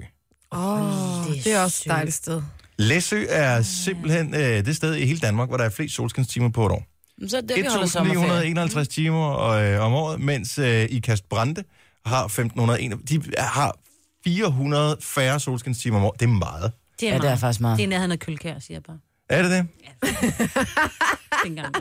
Speaker 9: Åh, oh, det er også et dejligt sted.
Speaker 1: Læsø
Speaker 4: Ah.
Speaker 1: er simpelthen øh, det sted i hele Danmark, hvor der er flest solskinstimer på et år.
Speaker 4: Men Så er det, vi holder sommerferie. Mm.
Speaker 1: 1951 timer øh, om året, mens øh, i Kastbrande har 1501, de har 400 færre solskinstimer om året. Det er meget.
Speaker 3: Det er,
Speaker 4: Ja, det er
Speaker 3: meget.
Speaker 4: faktisk
Speaker 3: Det
Speaker 4: meget.
Speaker 3: er i nærheden af Kølkær, siger jeg bare.
Speaker 1: Er det det?
Speaker 3: Dengang.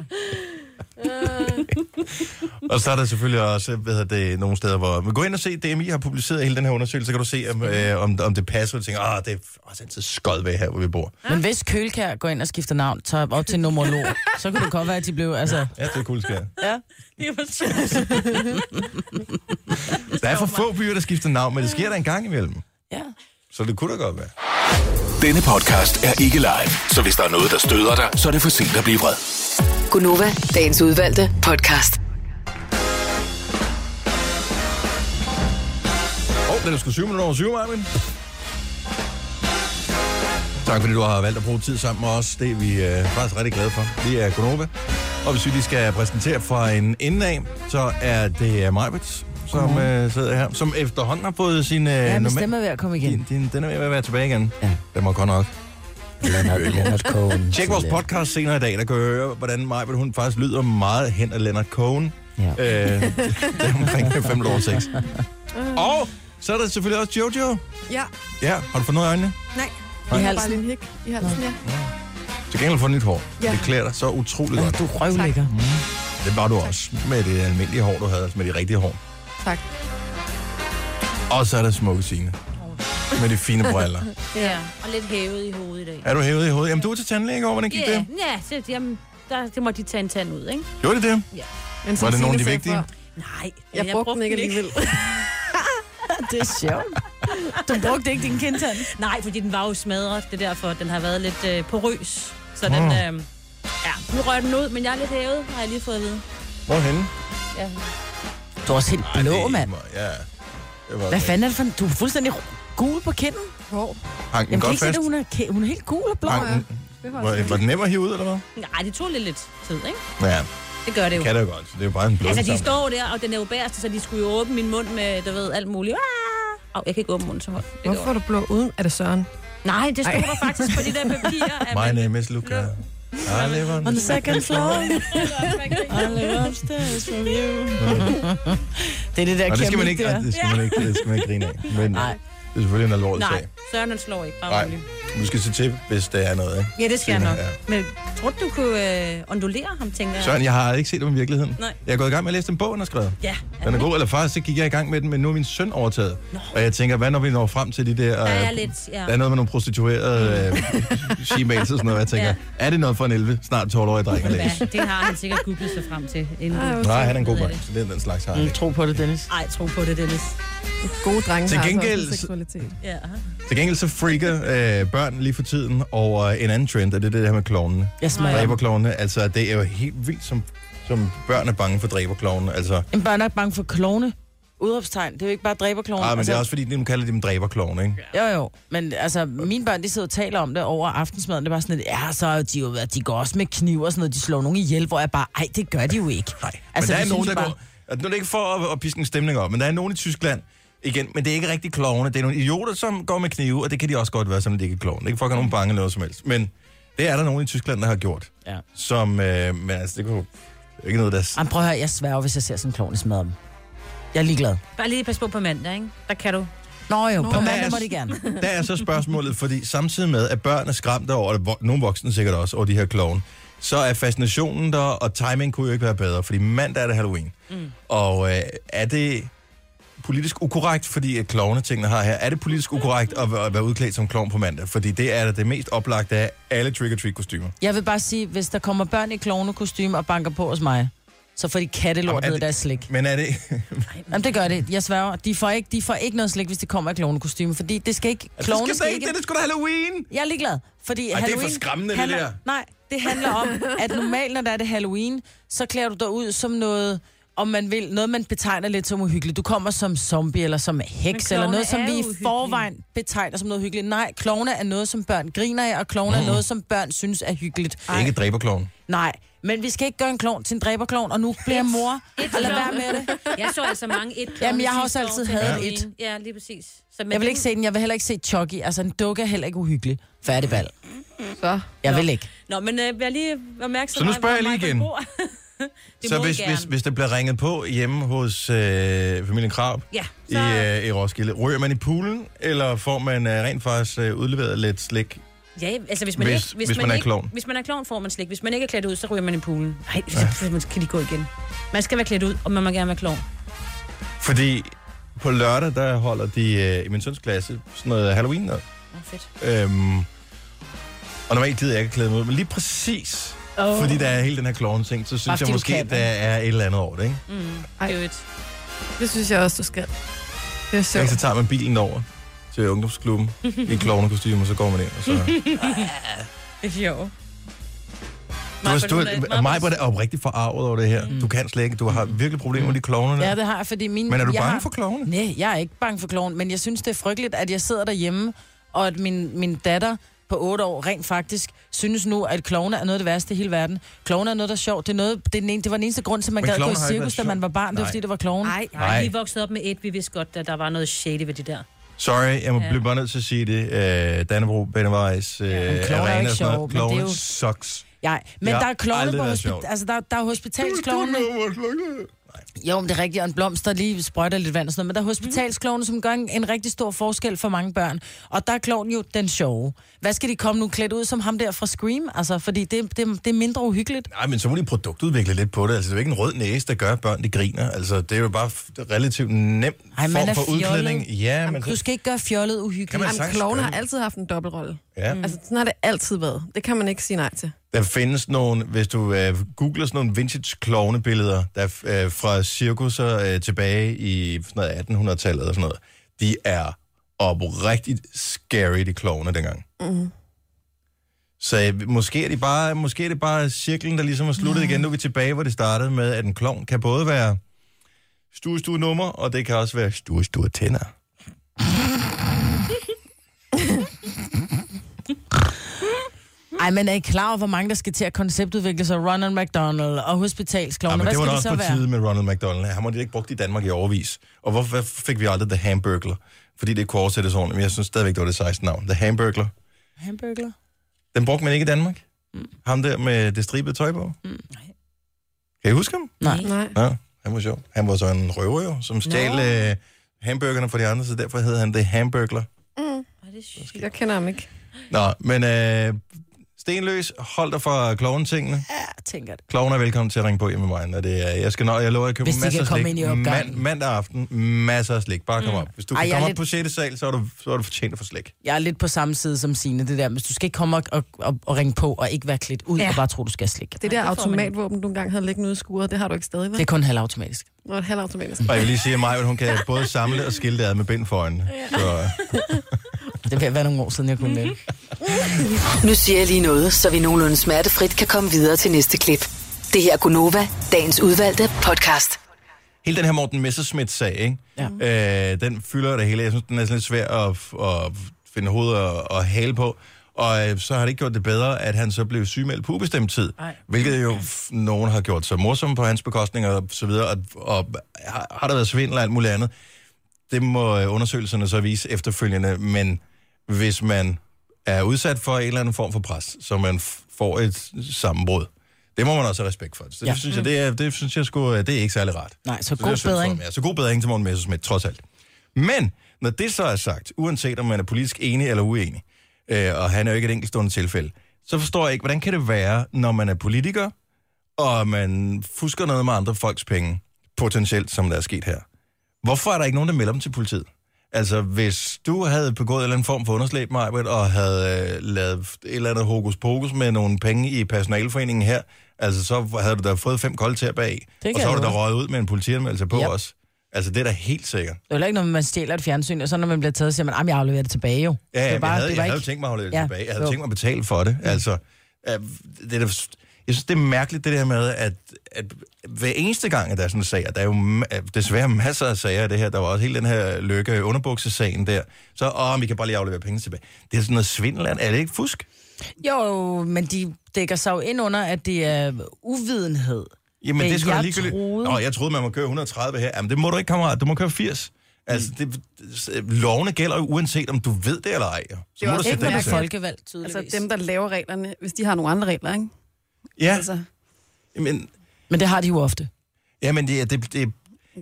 Speaker 1: Og så er der selvfølgelig også hvad hedder det, nogle steder, hvor... Men gå ind og se, DMI har publiceret hele den her undersøgelse, så kan du se, om, øh, om, om det passer. Og du tænker, ah, det er også altid skød ved her, hvor vi bor.
Speaker 4: Men hvis Kølkær går ind og skifter navn, tager op til numerolog, så kunne det godt være, at de blev, altså...
Speaker 1: Ja, det er cool, sker.
Speaker 3: Det var sjovt.
Speaker 1: Der er for få byer, der skifter navn, men det sker der en gang imellem.
Speaker 4: Ja.
Speaker 1: Så det kunne da godt være.
Speaker 6: Denne podcast er ikke live, så hvis der er noget, der støder dig, så er det for sent at blive vred.
Speaker 5: Gunova, dagens udvalgte podcast.
Speaker 1: Åh, oh, den er sgu 7 minutter over 7, Marvin. Tak fordi du har valgt at bruge tid sammen med os. Det er vi øh, faktisk rigtig glade for. Vi er Gonova. Og hvis vi lige skal præsentere fra en ende af, så er det Majbets, som øh, sidder her, som efterhånden har fået sin... Øh,
Speaker 4: Mhm. Ja, men stemmer ved at komme igen.
Speaker 1: din, din, den er ved at være tilbage igen.
Speaker 4: Ja. Altså,
Speaker 1: Den var godt nok.
Speaker 4: Leonard Cohen.
Speaker 1: Tjek vores podcast senere i dag, der kan I høre, hvordan Majbet, hun faktisk lyder meget hen af Leonard Cohen.
Speaker 4: Ja.
Speaker 1: Øh, det er omkring 5 over 6. Og så er der selvfølgelig også Jojo.
Speaker 9: Ja,
Speaker 1: Ja, har du fået noget i øjnene?
Speaker 9: nej.
Speaker 1: I
Speaker 9: I
Speaker 1: halsen?
Speaker 9: halsen. Bare lige en hik i halsen, ja.
Speaker 1: Til gengæld for nyt hår. Ja.
Speaker 9: Ja.
Speaker 1: Det klæder dig så utroligt godt.
Speaker 4: Du Mm. røvlægger.
Speaker 1: Det var du også med det almindelige hår, du havde, altså med de rigtige hår.
Speaker 9: Tak.
Speaker 1: Og så er der smukke Signe. Med de fine briller.
Speaker 3: Ja, og lidt hævet i hovedet i dag.
Speaker 1: Er du hævet i hovedet? Jamen, du er til tandlæge i går, hvordan gik
Speaker 3: Ja,
Speaker 1: det?
Speaker 3: ja, så, jamen, der, det måtte de tage en tand ud, ikke?
Speaker 1: Gjorde det det?
Speaker 9: Men som
Speaker 1: Var det
Speaker 9: Signe
Speaker 1: nogle af de
Speaker 9: sagde
Speaker 1: vigtige?
Speaker 9: før,
Speaker 3: Nej,
Speaker 9: Jeg brugte den ikke alligevel.
Speaker 4: Det er sjovt. Du brugte ikke din kindtand.
Speaker 3: Nej, fordi den var jo smadret. Det er derfor, den har været lidt øh, porøs. Så den, øh, ja, nu rører den ud, men jeg er lidt hævet, har jeg lige fået at vide.
Speaker 1: Hvorhenne?
Speaker 4: Du er også helt
Speaker 1: Ej,
Speaker 4: blå,
Speaker 1: det-
Speaker 4: mand.
Speaker 1: Ja. Det var
Speaker 4: Hvad fanden er det for en... Du er fuldstændig gul på kinden.
Speaker 9: Hvor?
Speaker 1: Hang den
Speaker 4: Jamen, kan I
Speaker 1: godt
Speaker 4: ikke se,
Speaker 1: fast?
Speaker 4: at hun er, ke- hun er helt gul og blå.
Speaker 1: Hang den.
Speaker 9: Det var
Speaker 1: Var, var den nem at hive ud, eller hvad?
Speaker 3: Nej, det tog lidt, lidt tid, ikke?
Speaker 1: Ja,
Speaker 3: Det gør det jo.
Speaker 1: kan det jo godt. Det er jo bare en blå
Speaker 3: Altså, de
Speaker 1: sammen.
Speaker 3: står der, og den er jo bæreste, så de skulle jo åbne min mund med, du ved, alt muligt. Ah! Au, jeg kan ikke åbne munden så højt. Det
Speaker 9: Hvorfor er
Speaker 3: går.
Speaker 9: du blå uden? Er det Søren?
Speaker 3: Nej, det stod der faktisk på de der papirer. at
Speaker 1: My
Speaker 3: man-
Speaker 1: name is Luca. I live on
Speaker 4: On the second floor,
Speaker 3: Nå,
Speaker 4: I live upstairs from you. det er det der
Speaker 1: Nå, det skal man
Speaker 4: kæmpe
Speaker 1: ikke,
Speaker 4: der.
Speaker 1: ej, det skal man ikke, det skal man ikke grine af. Men Nej. det er selvfølgelig en alvorlig
Speaker 3: Nej,
Speaker 1: sag.
Speaker 3: Søren han slår ikke. Bare
Speaker 1: Nej.
Speaker 3: rolig.
Speaker 1: Du skal se til, hvis der er noget, ikke?
Speaker 3: Ja, det skal jeg
Speaker 1: Senere,
Speaker 3: nok.
Speaker 1: ja.
Speaker 3: Men tror du, du kunne øh, ondulere ham, tænker jeg?
Speaker 1: Søren, jeg har aldrig ikke set ham i virkeligheden.
Speaker 3: Nej.
Speaker 1: Jeg er gået i gang med at læse den bog, han har skrevet.
Speaker 3: Ja.
Speaker 1: Den er god, eller faktisk så gik jeg i gang med den, men nu er min søn overtaget. Nå. Og jeg tænker, hvad når vi når frem til de der...
Speaker 3: Der er
Speaker 1: øh,
Speaker 3: lidt, ja.
Speaker 1: Der er noget med nogle prostituerede øh, shemales og sådan noget, og jeg tænker, ja.
Speaker 3: Ja.
Speaker 1: er det noget for en 11, snart 12-årig dreng at læse?
Speaker 3: Ja, det har han sikkert googlet sig frem til. Inden du...
Speaker 1: Nej, han er en god
Speaker 3: Ved jeg
Speaker 1: dreng,
Speaker 3: det.
Speaker 1: så det er den slags har han
Speaker 4: Mm,
Speaker 1: ikke.
Speaker 4: Tro på det, Dennis.
Speaker 3: Ej, tro på det, Dennis.
Speaker 9: Gode drenge
Speaker 1: Til
Speaker 9: har altså
Speaker 1: gengæld-
Speaker 9: også en seksualitet.
Speaker 3: Ja.
Speaker 1: Til gengæld så freaker øh, børn lige for tiden over en anden trend, og det er det her med klovnene.
Speaker 4: Jeg smager.
Speaker 1: Dræberklovnene, altså det er jo helt vildt, som, som børn er bange for dræberklovnene. Altså,
Speaker 4: Jamen, børn er ikke bange for klovne. Udråbstegn. Det er jo ikke bare dræberklovne.
Speaker 1: ah, men
Speaker 4: altså,
Speaker 1: det er også fordi, de nu kalder de dem dræberklovne, ikke?
Speaker 4: Jo, jo. Men altså, mine børn, de sidder og taler om det over aftensmaden. Det er bare sådan, at ja, så er de, jo, de går også med kniv og sådan noget. De slår nogen ihjel, hvor jeg bare, ej, det gør de jo ikke.
Speaker 1: Nej, altså, men der er nogen, der bare... går... at Nu er det ikke for at, at piske en stemning op, men der er nogen i Tyskland, igen, men det er ikke rigtig klovne. Det er nogle idioter, som går med knive, og det kan de også godt være, som det ikke er klovne. Det kan fucking nogen bange eller noget som helst. Men det er der nogen i Tyskland, der har gjort.
Speaker 4: Ja.
Speaker 1: Som, øh, men altså, det kunne det er ikke noget, der...
Speaker 4: Jamen, prøv at høre, jeg sværger, hvis jeg ser sådan en klovn i smadre dem. Jeg er ligeglad.
Speaker 3: Bare lige pas på på mandag, ikke? Der kan du.
Speaker 4: Nå jo, Nå, på
Speaker 1: der
Speaker 4: mandag
Speaker 1: er-
Speaker 4: må de gerne.
Speaker 1: Der er så spørgsmålet, fordi samtidig med, at børn er skræmte over, og vo- nogle voksne sikkert også, over de her klovne, så er fascinationen der, og timing kunne jo ikke være bedre, fordi mandag er det Halloween. Mm. Og øh, er det politisk ukorrekt, fordi at klovne tingene har her, er det politisk ukorrekt at, være- at være udklædt som klovn på mandag? Fordi det er da det mest oplagte af alle trick-or-treat-kostymer.
Speaker 4: Jeg vil bare sige, hvis der kommer børn i klovnekostyme og banker på hos mig, så får de
Speaker 1: Jamen,
Speaker 4: kattelort
Speaker 1: er
Speaker 4: ned i
Speaker 1: det-
Speaker 4: deres slik.
Speaker 1: Men er det...
Speaker 4: Jamen, det gør det. Jeg sværger. De får ikke, de får ikke noget slik, hvis de kommer i klovnekostyme, fordi det skal ikke...
Speaker 1: Klovne
Speaker 4: Klovne
Speaker 1: det skal
Speaker 4: skal
Speaker 1: da ikke,
Speaker 4: ikke...
Speaker 1: det er sgu da Halloween!
Speaker 4: Jeg er ligeglad, fordi
Speaker 1: Ej, det er for
Speaker 4: Halloween...
Speaker 1: skræmmende, det
Speaker 4: handler,
Speaker 1: der.
Speaker 4: Nej, det handler om, at normalt, når der er det Halloween, så klæder du dig ud som noget om man vil, noget man betegner lidt som uhyggeligt. Du kommer som zombie eller som heks, eller
Speaker 3: klovne
Speaker 4: noget, som
Speaker 3: er
Speaker 4: vi i
Speaker 3: uhyggelige.
Speaker 4: forvejen betegner som noget hyggeligt. Nej, klovne er noget, som børn griner af, og klovne mm. er noget, som børn synes er hyggeligt.
Speaker 1: Det er ikke dræberkloven.
Speaker 4: Nej, men vi skal ikke gøre en klovn til en dræberklovn, og nu bliver jeg mor.
Speaker 3: Et
Speaker 4: Og lad være med det.
Speaker 3: Jeg så altså mange et.
Speaker 4: Jamen, jeg har også altid hadet et.
Speaker 3: Ja, lige præcis. Så, men
Speaker 4: Jeg vil ikke se den, jeg vil heller ikke se Chucky. Altså, en dukke er heller ikke uhyggelig. Færdigball.
Speaker 9: Så.
Speaker 4: Jeg vil ikke.
Speaker 3: Nå, men øh, vær lige opmærksom.
Speaker 1: Så nu
Speaker 3: på,
Speaker 1: spørger jeg
Speaker 3: hvor
Speaker 1: lige
Speaker 3: Michael
Speaker 1: igen.
Speaker 3: bor. det
Speaker 1: Så
Speaker 3: må
Speaker 1: hvis,
Speaker 3: I gerne.
Speaker 1: hvis, hvis der bliver ringet på hjemme hos øh, familien Krab
Speaker 3: Ja,
Speaker 1: i,
Speaker 3: så ja.
Speaker 1: øh, i Roskilde, ryger man i poolen, eller får man øh, rent faktisk øh, udleveret lidt slik?
Speaker 3: altså hvis man,
Speaker 1: hvis-
Speaker 3: ikke,
Speaker 1: hvis man er
Speaker 3: ikke,
Speaker 1: klovn.
Speaker 3: Hvis man er klovn, får man slik. Hvis man ikke er klædt ud, så ryger man i poolen. Nej, så ja. kan de gå igen. Man skal være klædt ud, og man må gerne være klovn.
Speaker 1: Fordi på lørdag, der holder de øh, i min søns klasse sådan noget Halloween noget.
Speaker 3: Åh, fedt.
Speaker 1: Øhm, og normalt gider jeg ikke at klæde mig ud, men lige præcis, oh. fordi der er hele den her klovn ting, så synes
Speaker 4: fordi
Speaker 1: jeg
Speaker 4: du
Speaker 1: måske,
Speaker 4: kan,
Speaker 1: der er et eller andet over det, ikke?
Speaker 3: Mm. Det er jo et.
Speaker 9: Det synes jeg også, du skal. Det er
Speaker 1: Ikke,
Speaker 9: sjovt.
Speaker 1: så tager man bilen over til ungdomsklubben i klovnekostyme, og så går man ind, og så...
Speaker 3: Jo.
Speaker 1: Du, er, du er, mig er oprigtigt forarvet over det her. Mm. Du kan slet ikke. Du har virkelig problemer med de klovnerne.
Speaker 4: Ja, det har jeg, fordi min...
Speaker 1: Men er du
Speaker 4: jeg
Speaker 1: bange
Speaker 4: har-
Speaker 1: for klovnene?
Speaker 4: Nej, jeg er ikke bange for kloven, men jeg synes, det er frygteligt, at jeg sidder derhjemme, og at min, min datter på 8 år rent faktisk synes nu, at klovne er noget af det værste i hele verden. Klovne er noget, der er sjovt. Det, er noget, det, er den ene, det var den eneste grund til, at man
Speaker 1: Men
Speaker 4: gad gå i
Speaker 1: klovne har ikke
Speaker 4: cirkus, da
Speaker 1: været
Speaker 4: man var
Speaker 1: sjovt.
Speaker 4: barn. Det var
Speaker 1: Nej.
Speaker 4: fordi, det var klovne.
Speaker 3: Nej,
Speaker 1: Nej.
Speaker 3: nej, vi voksede op med et. Vi vidste godt, at der var noget shady ved det der.
Speaker 1: Sorry, jeg må
Speaker 3: Ja.
Speaker 1: blive bare nødt til at sige det. Øh, Dannebro, Benevejs, øh,
Speaker 4: men klovner er
Speaker 1: Arena
Speaker 4: ikke
Speaker 1: og sådan
Speaker 4: sjove,
Speaker 1: noget.
Speaker 4: men det er
Speaker 1: Klovne
Speaker 4: jo-
Speaker 1: sucks.
Speaker 4: Nej. Men
Speaker 1: Ja,
Speaker 4: der er klovne
Speaker 1: aldrig
Speaker 4: på
Speaker 1: været sjovt.
Speaker 4: hospi- altså, der, der er hospitalsklovne. Jo, men det er rigtigt, og en blomst, der lige sprøjter lidt vand og sådan noget. Men der er hospitalsklovne, som gør en, en rigtig stor forskel for mange børn. Og der er kloven jo den sjove. Hvad skal de komme nu klædt ud som ham der fra Scream? Altså, fordi det, det, det er mindre uhyggeligt.
Speaker 1: Nej, men så må de produktudvikle lidt på det. Altså, det er jo ikke en rød næse, der gør, at børn de griner. Altså, det er jo bare f- relativt nem
Speaker 4: Ej, man
Speaker 1: form
Speaker 4: er
Speaker 1: for
Speaker 4: fjollet.
Speaker 1: udklædning. Ja, men
Speaker 4: Jamen, du
Speaker 1: så,
Speaker 4: skal ikke gøre fjollet
Speaker 1: Kan
Speaker 4: uhyggeligt.
Speaker 1: man-
Speaker 4: Man...
Speaker 9: Jamen,
Speaker 1: sagtens
Speaker 9: klovne
Speaker 1: gøre
Speaker 9: har
Speaker 1: det.
Speaker 9: altid haft en dobbeltrolle.
Speaker 1: ja. Mm.
Speaker 9: Altså, sådan har det altid været. Det kan man ikke sige nej til.
Speaker 1: Der findes nogle, hvis du øh, googler sådan nogle vintage klovnebilleder, der er, øh, fra cirkusser øh, tilbage i sådan noget 1800-tallet og sådan noget. De er oprigtigt scary, de klovne dengang. Mm. Så øh, måske, er de bare, måske er det bare cirklen, der ligesom er sluttet mm. igen. Nu er vi tilbage, hvor det startede med, at en klovn kan både være stue, stue nummer, og det kan også være stue, stue tænder.
Speaker 4: Ej, men er I klar over, hvor mange der skal til at konceptudvikle sig? Ronald McDonald og
Speaker 1: Ja,
Speaker 4: hospitalsklovne.
Speaker 1: men
Speaker 4: Hvad
Speaker 1: det var
Speaker 4: skal
Speaker 1: da
Speaker 4: det
Speaker 1: også på
Speaker 4: så være?
Speaker 1: tide med Ronald McDonald. Han måtte ikke brugt i Danmark i overvis. Og hvorfor hvorfor fik vi aldrig The Hamburglar? Fordi det kunne oversættes ordentligt, men jeg synes stadigvæk, det var det 16 navn. The Hamburglar.
Speaker 4: Hamburger.
Speaker 1: Den brugte man ikke i Danmark. Mm. Ham der med det stribede tøj på. Mm. Kan I huske ham?
Speaker 4: Nej.
Speaker 9: Nej.
Speaker 1: Ja, han var sjov. Han var så en røver jo, som stjal no. hamburgerne fra de andre, så derfor hed han The Hamburglar.
Speaker 9: Mm.
Speaker 3: Ej, det er sygt.
Speaker 9: Jeg kender ham ikke.
Speaker 1: Nå, men øh, stenløs, hold dig fra klovnetingene.
Speaker 4: Ja, jeg tænker det.
Speaker 1: Kloven er velkommen til at ringe på hjemme med mig, når det er. Jeg skal nok, jeg lover, at købe
Speaker 4: Hvis de
Speaker 1: masser
Speaker 4: kan
Speaker 1: af
Speaker 4: komme
Speaker 1: slik.
Speaker 4: ind i opgangen. Mm.
Speaker 1: mandag aften, masser af slik. Bare kom op. Hvis du
Speaker 4: Ej,
Speaker 1: kan
Speaker 4: jeg er
Speaker 1: komme op
Speaker 4: lidt-
Speaker 1: på 6. sal, så er du, så er du fortjent at få slik.
Speaker 4: Jeg er lidt på samme side som Signe, det der. Hvis du skal ikke komme og, og, og, og ringe på og ikke være klædt ud, ja.
Speaker 3: Ja.
Speaker 4: og bare tro, du skal slikke.
Speaker 9: Det der automatvåben, du engang havde liggende ude i skuret, det har du ikke stadig,
Speaker 4: Det er
Speaker 9: vel?
Speaker 4: kun halvautomatisk.
Speaker 9: Det er et halvautomatisk.
Speaker 1: Og jeg vil lige sige, at Maja, hun kan både samle og skille det ad med bind for øjnene. Så,
Speaker 4: Det vil være nogle år siden, jeg kunne det.
Speaker 5: Nu siger jeg lige noget, så vi nogenlunde smertefrit kan komme videre til næste klip. Det her er Gunova, dagens udvalgte podcast.
Speaker 1: hele den her Morten Messerschmidt-sag, ikke? Ja. Øh, den fylder det hele. Jeg synes, den er sådan lidt svær at, at finde hovedet og, og hale på. Og øh, så har det ikke gjort det bedre, at han så blev sygemeldt på ubestemt tid. Ej. Hvilket jo f- nogen har gjort så morsomme på hans bekostning og så videre. Og, og har, har der været svindel og alt muligt andet? Det må øh, undersøgelserne så vise efterfølgende. Men hvis man er udsat for en eller anden form for pres, så man f- får et sammenbrud, det må man også have respekt for. Så det, ja.
Speaker 4: Ja. Mm.
Speaker 1: synes jeg, det, er, det synes jeg sgu, øh, det er ikke særlig rart.
Speaker 4: Nej, så
Speaker 1: Så det er
Speaker 4: god
Speaker 1: synd for
Speaker 4: bedring.
Speaker 1: ham, Ja, så god bedring til Morten Messerschmidt, trods alt. Men, når det så er sagt, uanset om man er politisk enig eller uenig, øh, og han er jo ikke et enkeltstående tilfælde, så forstår jeg ikke, hvordan kan det være, når man er politiker, og man fusker noget med andre folks penge, potentielt, som der er sket her. Hvorfor er der ikke nogen, der melder dem til politiet? Altså, hvis du havde begået en eller anden form for underslæb, Majbert, og havde øh, lavet et eller andet hokus pokus med nogle penge i personalforeningen her, altså så havde du da fået fem kolde tæer bag,
Speaker 4: kan
Speaker 1: og så
Speaker 4: jeg
Speaker 1: var du da
Speaker 4: love.
Speaker 1: røget ud med en politianmeldelse på
Speaker 4: Yep.
Speaker 1: os. Altså, det er da helt sikkert.
Speaker 4: Det er jo heller ikke, når man stjæler et fjernsyn, og så når man bliver taget, siger man, at jeg afleverer det tilbage jo.
Speaker 1: Ja,
Speaker 4: det
Speaker 1: ja,
Speaker 4: er
Speaker 1: bare, jeg havde,
Speaker 4: det
Speaker 1: jeg
Speaker 4: var
Speaker 1: havde jo
Speaker 4: ikke-
Speaker 1: tænkt mig at holde det
Speaker 4: Ja,
Speaker 1: tilbage. Jeg havde
Speaker 4: jo.
Speaker 1: tænkt mig at betale for det. Altså, øh, det er da, Jeg synes, det er mærkeligt det der med, at, at hver eneste gang, at der er sådan en sag, og der er jo ma- desværre masser af sager af det her, der var også hele den her lykke underbuksesagen der, så åh, vi kan bare lige aflevere penge tilbage. Det er sådan noget svindel, er det ikke fusk?
Speaker 4: Jo, men de dækker sig jo ind under, at det er uvidenhed.
Speaker 1: Jamen,
Speaker 4: Men
Speaker 1: det skulle
Speaker 4: jeg
Speaker 1: ligegyldigt.
Speaker 4: troede-
Speaker 1: Nå, jeg troede, man må køre 130 her. Jamen, det må du ikke, kammerat. Du må køre 80. Altså,
Speaker 4: Mm.
Speaker 1: det, s- lovene gælder jo uanset, om du ved det eller ej. jo. Så
Speaker 2: Det er
Speaker 1: må du
Speaker 2: også
Speaker 1: sætte den
Speaker 4: Ikke når
Speaker 2: mærkeligt.
Speaker 1: til.
Speaker 4: du er folkevalgt, tydeligvis.
Speaker 2: Altså dem, der laver reglerne, hvis de har nogle andre regler, ikke?
Speaker 1: Ja,
Speaker 2: Altså,
Speaker 1: men,
Speaker 4: Men det har de jo ofte.
Speaker 1: ja, men det, det, det,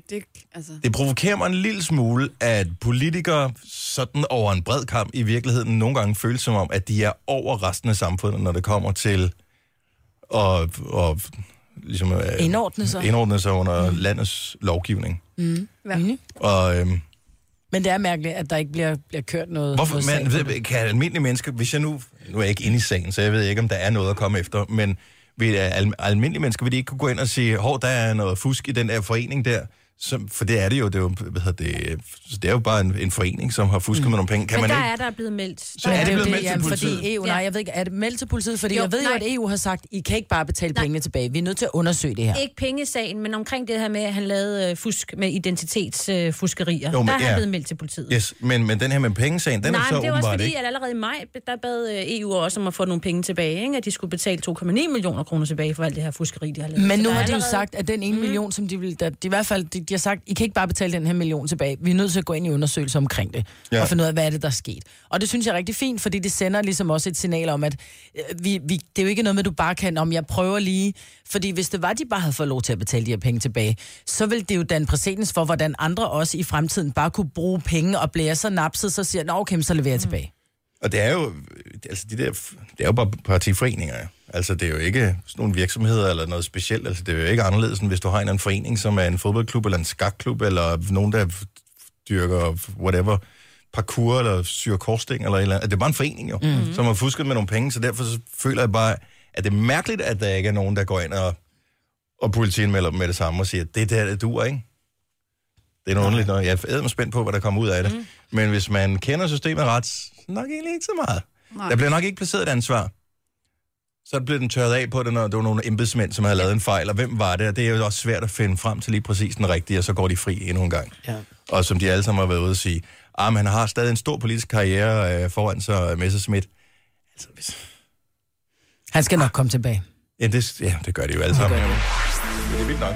Speaker 2: det, altså,
Speaker 1: det provokerer mig en lille smule, at politikere sådan over en bred kamp i virkeligheden nogle gange føles som om, at de er over resten af samfundet, når det kommer til at, og, ligesom, øh,
Speaker 4: Indordne sig. Mm.
Speaker 1: indordne sig under landets lovgivning.
Speaker 2: ja.
Speaker 1: Og... Øhm,
Speaker 4: Men det er mærkeligt, at der ikke bliver, bliver kørt noget.
Speaker 1: Hvorfor,
Speaker 4: noget sag
Speaker 1: man,
Speaker 4: på
Speaker 1: ved, kan almindelige mennesker, hvis jeg nu, nu er jeg ikke inde i sagen, så jeg ved ikke, om der er noget at komme efter, men vil, øh, al, almindelige mennesker vil de ikke kunne gå ind og sige, hov, der er noget fusk i den der forening der, som, for det er det jo, det er jo, hvad hedder det, det er jo bare en, en forening, som har fusket mm. med nogle penge. Kan
Speaker 3: Men
Speaker 1: man
Speaker 3: der
Speaker 1: ikke?
Speaker 3: er der blevet meldt.
Speaker 1: Så er det
Speaker 4: jo
Speaker 1: blevet meldt til
Speaker 4: jamen,
Speaker 1: politiet.
Speaker 4: Fordi EU, nej, jeg ved ikke, er det meldt til politiet? Fordi
Speaker 3: Jo,
Speaker 4: jo, jeg ved jo,
Speaker 3: nej.
Speaker 4: at EU har sagt, I kan ikke bare betale nej. pengene tilbage. Vi er nødt til at undersøge det her.
Speaker 3: Ikke pengesagen, men omkring det her med, at han lavede øh, fusk med identitetsfuskerier. Øh, fuskerier.
Speaker 1: Jo, men
Speaker 3: der er
Speaker 1: ja.
Speaker 3: han blevet meldt til politiet.
Speaker 1: Yes, men, men den her med pengesagen, den
Speaker 3: Nej,
Speaker 1: er så
Speaker 3: men det er også
Speaker 1: åbenbart
Speaker 3: fordi,
Speaker 1: ikke.
Speaker 3: at allerede i maj, der bad øh, EU også om at få nogle penge tilbage, ikke? at de skulle betale 2,9 millioner kroner tilbage for alt det her fuskeri, de har lavet.
Speaker 4: Men
Speaker 3: Så
Speaker 4: nu
Speaker 3: der er
Speaker 4: har de jo
Speaker 3: allerede-
Speaker 4: sagt, at den ene million, som de vil, der, de, i hvert fald, de, de har sagt, I kan ikke bare betale den her million tilbage. Vi er nødt til at gå ind i undersøgelser omkring det,
Speaker 1: Ja.
Speaker 4: ja. og finde ud af, hvad er det, der er sket. Og det synes jeg er rigtig fint, fordi det sender ligesom også et signal om, at øh, vi, vi, det er jo ikke noget med, at du bare kan, om jeg prøver lige. Fordi hvis det var, de bare havde fået lov til at betale de her penge tilbage, så ville det jo danne præcedens for, hvordan andre også i fremtiden bare kunne bruge penge og blære så napset, så siger, nå okay, men så leverer jeg tilbage.
Speaker 1: Og det er jo, altså de der, det er jo bare partiforeninger, ja. Altså, det er jo ikke sådan nogle virksomheder eller noget specielt. Altså, det er jo ikke anderledes, end hvis du har en eller anden forening, som er en fodboldklub eller en skakklub, eller nogen, der dyrker whatever, parkour eller syr korsting eller et eller andet. Det er bare en forening jo, mm-hmm. som har fusket med nogle penge, så derfor så føler jeg bare, at det er mærkeligt, at der ikke er nogen, der går ind og, og politien melder dem med det samme og siger, det der, det duer, ikke? Det er noget underligt noget. Jeg er ædme spændt på, hvad der kommer ud af det. Mm. Men hvis man kender systemet ret, så nok egentlig ikke så meget. Nej.
Speaker 2: Nej.
Speaker 1: Der bliver nok ikke placeret et ansvar. Så blev den tørret af på det, når det var nogle embedsmænd, som havde lavet en fejl, og hvem var det? Og det er jo også svært at finde frem til lige præcis den rigtige, og så går de fri endnu en gang. Ja. Og som de alle sammen har været ude at sige, ah, men han har stadig en stor politisk karriere øh, foran sig, Messerschmidt. Altså, hvis...
Speaker 4: Han skal nok komme tilbage.
Speaker 1: ja, det, ja, det gør de jo alle sammen. Men det er vildt nok.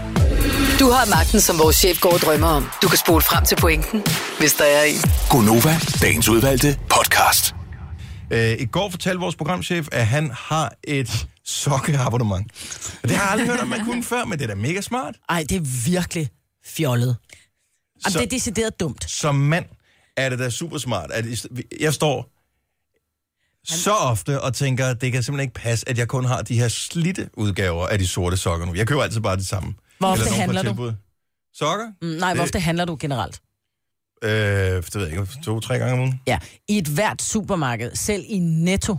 Speaker 5: Du har magten, som vores chef går og drømmer om. Du kan spole frem til pointen, hvis der er en.
Speaker 6: Gonova, dagens udvalgte podcast.
Speaker 1: Øh, I går fortalte vores programchef, at han har et sokkeabonnement. Og Det har jeg aldrig hørt, om man kunne før, men det er da mega smart.
Speaker 4: Ej, det er virkelig fjollet. Jamen,
Speaker 1: Så-
Speaker 4: så... det er decideret dumt.
Speaker 1: Som mand er det da super smart. At i- jeg står så ofte og tænker, at det kan simpelthen ikke passe, at jeg kun har de her slitte udgaver af de sorte sokker nu. Jeg køber altid bare det samme.
Speaker 4: Hvor ofte
Speaker 1: nogen på
Speaker 4: handler du?
Speaker 1: tilbud. Sokker?
Speaker 4: Mm, nej, hvor ofte handler du generelt?
Speaker 1: Øh, det ved jeg ikke, to-tre gange om ugen.
Speaker 4: Ja, i et hvert supermarked, selv i Netto,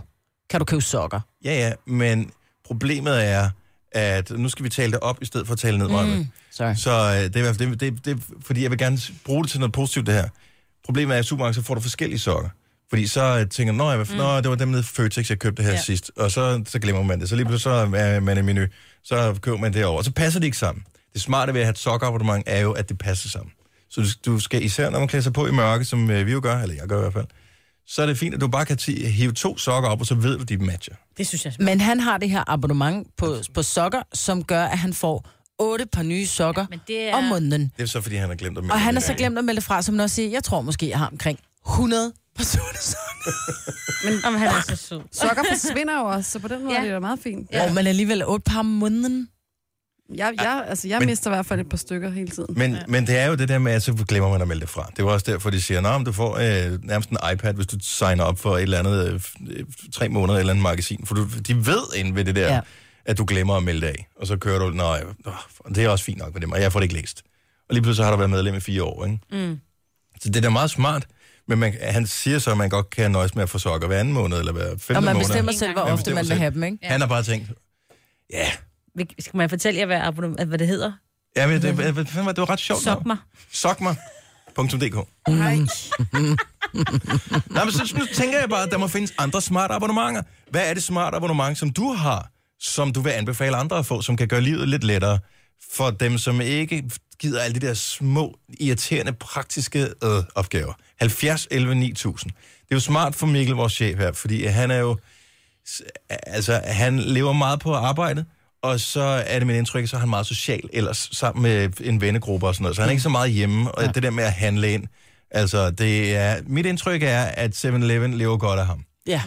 Speaker 4: kan du købe sokker.
Speaker 1: Ja, ja, men problemet er, at nu skal vi tale det op, i stedet for at tale ned, mm.
Speaker 4: Sorry.
Speaker 1: Så øh, det er i hvert fald, det, det, det, fordi jeg vil gerne s- bruge det til noget positivt, det her. Problemet er, at i supermarkedet så får du forskellige sokker. Fordi så øh, tænker man, mm. nå, det var dem nede i Føtex, jeg købte her ja.
Speaker 4: Ja.
Speaker 1: sidst. Og så, så glemmer man det. Så lige pludselig så er man i menu. Så køber man det over. Og så passer de ikke sammen. Det smarte ved at have et sokkerabonnement er jo, at det passer sammen. Så du, du skal især, når man klæder sig på i mørke, som øh, vi jo gør, eller jeg gør i hvert fald, så er det fint, at du bare kan ti- hive to sokker op, og så ved du, de matcher.
Speaker 3: Det synes jeg er smart.
Speaker 4: Men han har det her abonnement på, på sokker, som gør, at han får otte par nye sokker
Speaker 3: men det
Speaker 4: ja,
Speaker 3: er-
Speaker 4: om måneden.
Speaker 1: Det er så, fordi han har glemt at melde
Speaker 4: Og han
Speaker 1: det
Speaker 4: har så
Speaker 1: af.
Speaker 4: glemt at melde det fra, som man også siger, jeg tror måske, jeg har omkring 100 par sorte sokker.
Speaker 3: Men om han er så sød.
Speaker 2: Sokker forsvinder jo også, så på den måde
Speaker 3: Ja.
Speaker 2: ja. er det da meget fint.
Speaker 4: Ja. Og man alligevel otte par om måneden.
Speaker 2: Jeg, jeg, altså, jeg
Speaker 1: Men-
Speaker 2: men, mister i hvert fald et par stykker hele tiden.
Speaker 1: Men, ja. men det er jo det der med, at så glemmer man at melde det fra. Det var også derfor, de siger, at du får øh, nærmest en iPad, hvis du signer op for et eller andet øh, f- øh, tre måneder et eller andet magasin. For du, de ved ind ved det der, ja.
Speaker 4: Ja.
Speaker 1: at du glemmer at melde det af. Og så kører du, nej, øh, det er også fint nok med dem, og jeg får det ikke læst. Og lige pludselig har du været medlem i fire år, ikke? Mm. Så det er da meget smart. Men man, han siger så, at man godt kan nøjes med at få sokker hver anden måned, eller hver femte
Speaker 4: Og man
Speaker 1: måned.
Speaker 4: bestemmer selv, hvor
Speaker 1: Man
Speaker 4: ofte
Speaker 1: bestemmer
Speaker 4: man vil
Speaker 1: selv.
Speaker 4: have dem, ikke?
Speaker 1: Han har bare tænkt, ja,
Speaker 3: Vil- Skal man fortælle jer, hvad, abonnement- hvad det hedder?
Speaker 1: ja men det, det, det, var ret sjovt.
Speaker 3: Sok
Speaker 1: navn.
Speaker 3: mig.
Speaker 1: Sokmer.dk. Nej, men så, så tænker jeg bare, at der må findes andre smarte abonnementer. Hvad er det smarte abonnement, som du har, som du vil anbefale andre at få, som kan gøre livet lidt lettere for dem, som ikke gider alle de der små, irriterende, praktiske øh, opgaver. 70 11 9000. Det er jo smart for Mikkel, vores chef her, fordi han er jo altså, han lever meget på arbejdet, og så er det mit indtryk, at så er han meget social ellers, sammen med en vennegruppe og sådan noget. Så han er ikke så meget hjemme, og det der med at handle ind, altså, det er, mit indtryk er, at 7-Eleven lever godt af ham.
Speaker 4: Ja.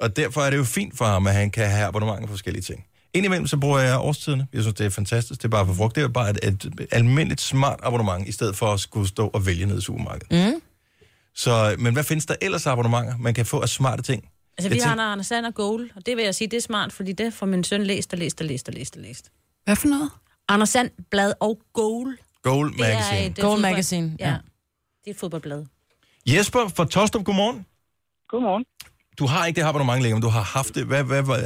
Speaker 1: Og derfor er det jo fint for ham, at han kan have abonnementer på forskellige ting. Indimellem så bruger jeg årstiderne. Jeg synes, det er fantastisk. Det er bare for frugt. Det er bare et, et almindeligt smart abonnement, i stedet for at skulle stå og vælge ned i supermarkedet. Mm. Så, men hvad findes der ellers af abonnementer, man kan få af smarte ting?
Speaker 3: Altså,
Speaker 1: Jeg
Speaker 3: vi har
Speaker 1: tænker-
Speaker 3: Anders Sand og Goal, og det vil jeg sige, det er smart, fordi det får min søn læst og læst og læst og læst og læst.
Speaker 9: Hvad for noget?
Speaker 3: Anders Sand, blad og Goal.
Speaker 1: Goal
Speaker 3: Det er
Speaker 1: Magazine.
Speaker 3: et, øh,
Speaker 4: Goal
Speaker 3: fodbold-
Speaker 4: Magazine, ja.
Speaker 3: Ja. Det er et fodboldblad.
Speaker 1: Jesper fra Tostrup, godmorgen.
Speaker 10: Godmorgen.
Speaker 1: Du har ikke det her abonnement længere, men du har haft det. Hvad, hvad, hvad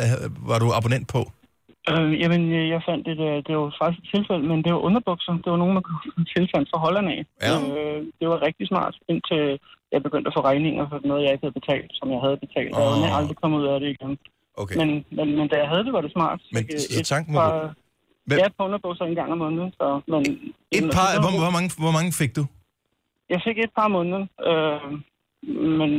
Speaker 1: var du abonnent på?
Speaker 10: Øh, jamen, øh, jeg fandt det, øh, det var faktisk et tilfælde, men det var underbukser. Det var nogen, man kunne tilfælde fra Holland af.
Speaker 1: Ja.
Speaker 10: Øh, det var rigtig smart, indtil jeg begyndte at få regninger for noget, jeg ikke havde betalt, som jeg havde betalt. Oh. Og jeg er
Speaker 1: Åh.
Speaker 10: aldrig kommet ud af det igen.
Speaker 1: Okay.
Speaker 10: Men,
Speaker 1: Men,
Speaker 10: men, men da jeg havde det, var det smart.
Speaker 1: Men
Speaker 10: Fik, øh,
Speaker 1: så
Speaker 10: et
Speaker 1: tanken var
Speaker 10: par-
Speaker 1: god. Hvem-
Speaker 10: Ja, et par underbukser en gang om måneden. Så, men,
Speaker 1: et
Speaker 10: men-
Speaker 1: par, hvor, hvor, mange, hvor mange fik du?
Speaker 10: Jeg fik et par måneder, øh, men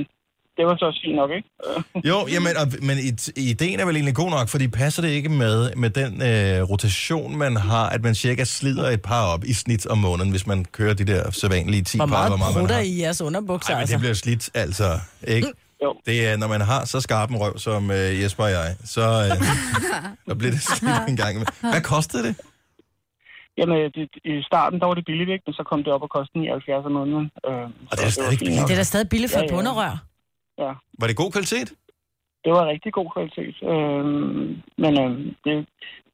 Speaker 10: det var så også fint nok, ikke? Øh,
Speaker 1: Jo, jamen, og, men it, ideen er vel egentlig god nok, fordi passer det ikke med, med den øh, rotation, man har, at man cirka slider et par op i snit om måneden, hvis man kører de der sædvanlige 10
Speaker 4: Hvor
Speaker 1: par,
Speaker 4: meget
Speaker 1: hvor meget man
Speaker 4: prutter
Speaker 1: har.
Speaker 4: i jeres underbukser,
Speaker 1: Ej, men det
Speaker 4: altså.
Speaker 1: bliver slidt, altså. Ikke?
Speaker 10: Jo.
Speaker 1: Det er, når man har så skarp en røv, som øh, Jesper og jeg, så, øh, så bliver det slidt en gang. imellem. Hvad kostede det?
Speaker 10: Jamen, det, i starten, der var det billigt, ikke? Men så kom det op og kostede 79 om måneden. Øh,
Speaker 1: Og det
Speaker 10: så
Speaker 1: er stadig
Speaker 10: var fint nok.
Speaker 4: Det er da stadig billigt for
Speaker 10: Ja,
Speaker 4: et
Speaker 10: ja.
Speaker 4: bunderør.
Speaker 10: Ja,
Speaker 1: Var det god kvalitet?
Speaker 10: det var rigtig god kvalitet. Øh, men øh, det,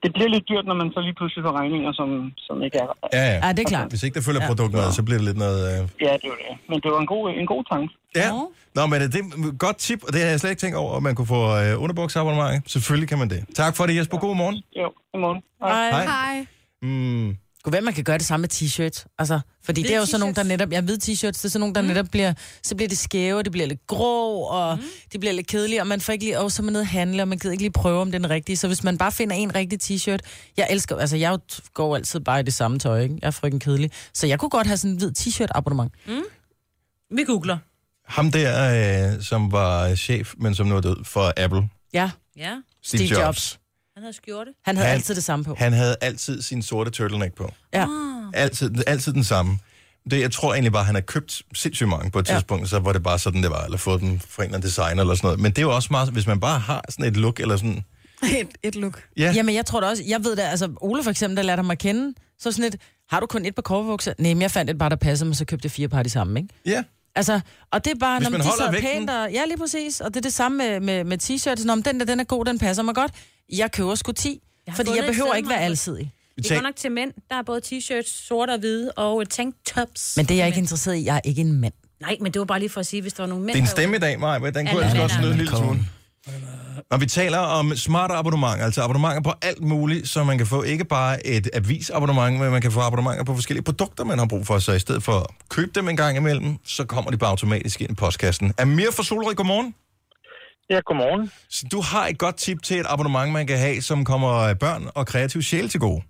Speaker 10: det bliver lidt dyrt, når man så lige pludselig får regninger, som, som ikke er...
Speaker 1: Ja,
Speaker 4: Ja, det er klart.
Speaker 1: Hvis ikke der følger ja. produktet med, så bliver det lidt noget... Øh...
Speaker 10: Ja, det var det. Men det var en god, en god tanke.
Speaker 1: Ja. Nå, men øh, det er et godt tip, og det havde jeg slet ikke tænkt over, at man kunne få øh, underbuksabonnement. Selvfølgelig kan man det. Tak for det, Jesper. God morgen.
Speaker 10: Jo, godmorgen.
Speaker 1: Hej.
Speaker 9: Hej.
Speaker 1: Mm.
Speaker 4: Kunne være, man kan gøre det samme med t-shirts. Altså, fordi det er jo sådan nogle, der netop... Ja, hvide t-shirts, det er sådan nogle, der mm. netop bliver... Så bliver det skæve, det bliver lidt grå, og mm. det bliver lidt kedeligt, og man får ikke lige... Åh, så er man nede og handle, og man gider ikke lige prøve, om det er den rigtige. Så hvis man bare finder en rigtig t-shirt... Jeg elsker... Altså, jeg går jo altid bare i det samme tøj, ikke? Jeg er frygten kedelig. Så jeg kunne godt have sådan en hvid t-shirt abonnement.
Speaker 3: Vi googler.
Speaker 1: Ham der, øh, som var chef, men som nu er død for Apple.
Speaker 4: Ja,
Speaker 3: Ja,
Speaker 1: Steve,
Speaker 4: Steve Jobs.
Speaker 3: han havde skjorte.
Speaker 4: Han havde
Speaker 1: Han-
Speaker 4: han, altid det samme på.
Speaker 1: Han havde altid sin sorte turtleneck på.
Speaker 4: Ja.
Speaker 1: Altid, altid den samme. Det, jeg tror egentlig bare, at han har købt sindssygt mange på et ja.
Speaker 4: Ja.
Speaker 1: tidspunkt, så var det bare sådan, det var, eller fået den fra en eller anden designer eller sådan noget. Men det er jo også meget, hvis man bare har sådan et look eller sådan...
Speaker 9: Et, et look.
Speaker 1: Ja, Jamen,
Speaker 4: Jamen, jeg tror da også, jeg ved da, altså Ole for eksempel, der lærte ham at kende, så sådan et, har du kun et par korvebukser? Nej, men jeg fandt et par, der passede mig, så købte jeg fire par af de samme, ikke?
Speaker 1: ja.
Speaker 4: Altså, og det er bare,
Speaker 1: Hvis
Speaker 4: når man
Speaker 1: man
Speaker 4: de
Speaker 1: holder
Speaker 4: sad
Speaker 1: vægten.
Speaker 4: pænt, og, ja, lige præcis, og det er det samme med, med, med t-shirts, når den der, den er god, den passer mig godt, jeg køber sgu 10,
Speaker 3: har
Speaker 4: fordi
Speaker 3: fundet
Speaker 4: jeg
Speaker 3: et
Speaker 4: behøver
Speaker 3: sted,
Speaker 4: ikke være
Speaker 3: Maja.
Speaker 4: alsidig.
Speaker 3: Det er godt nok til mænd. Der er både t-shirts, sorte og hvide, og øh, tanktops.
Speaker 4: Men det er jeg ikke interesseret i, jeg er ikke en mand.
Speaker 3: Nej, men det var bare lige for at sige, hvis der var nogle mænd...
Speaker 1: Din
Speaker 3: derude-
Speaker 1: stemme i dag, Maja, men den kunne
Speaker 3: Ja,
Speaker 1: jeg altså
Speaker 3: ja,
Speaker 1: godt
Speaker 3: ja.
Speaker 1: snyde en lille smule. Når vi taler om smarte abonnementer, altså abonnementer på alt muligt, så man kan få ikke bare et avisabonnement, men man kan få abonnementer på forskellige produkter, man har brug for. Så i stedet for at købe dem en gang imellem, så kommer de bare automatisk ind i postkassen. Amir fra Solrød, godmorgen.
Speaker 10: Ja, godmorgen.
Speaker 1: Så du har et godt tip til et abonnement, man kan have, som kommer øh, børn og kreativ sjæl til gode.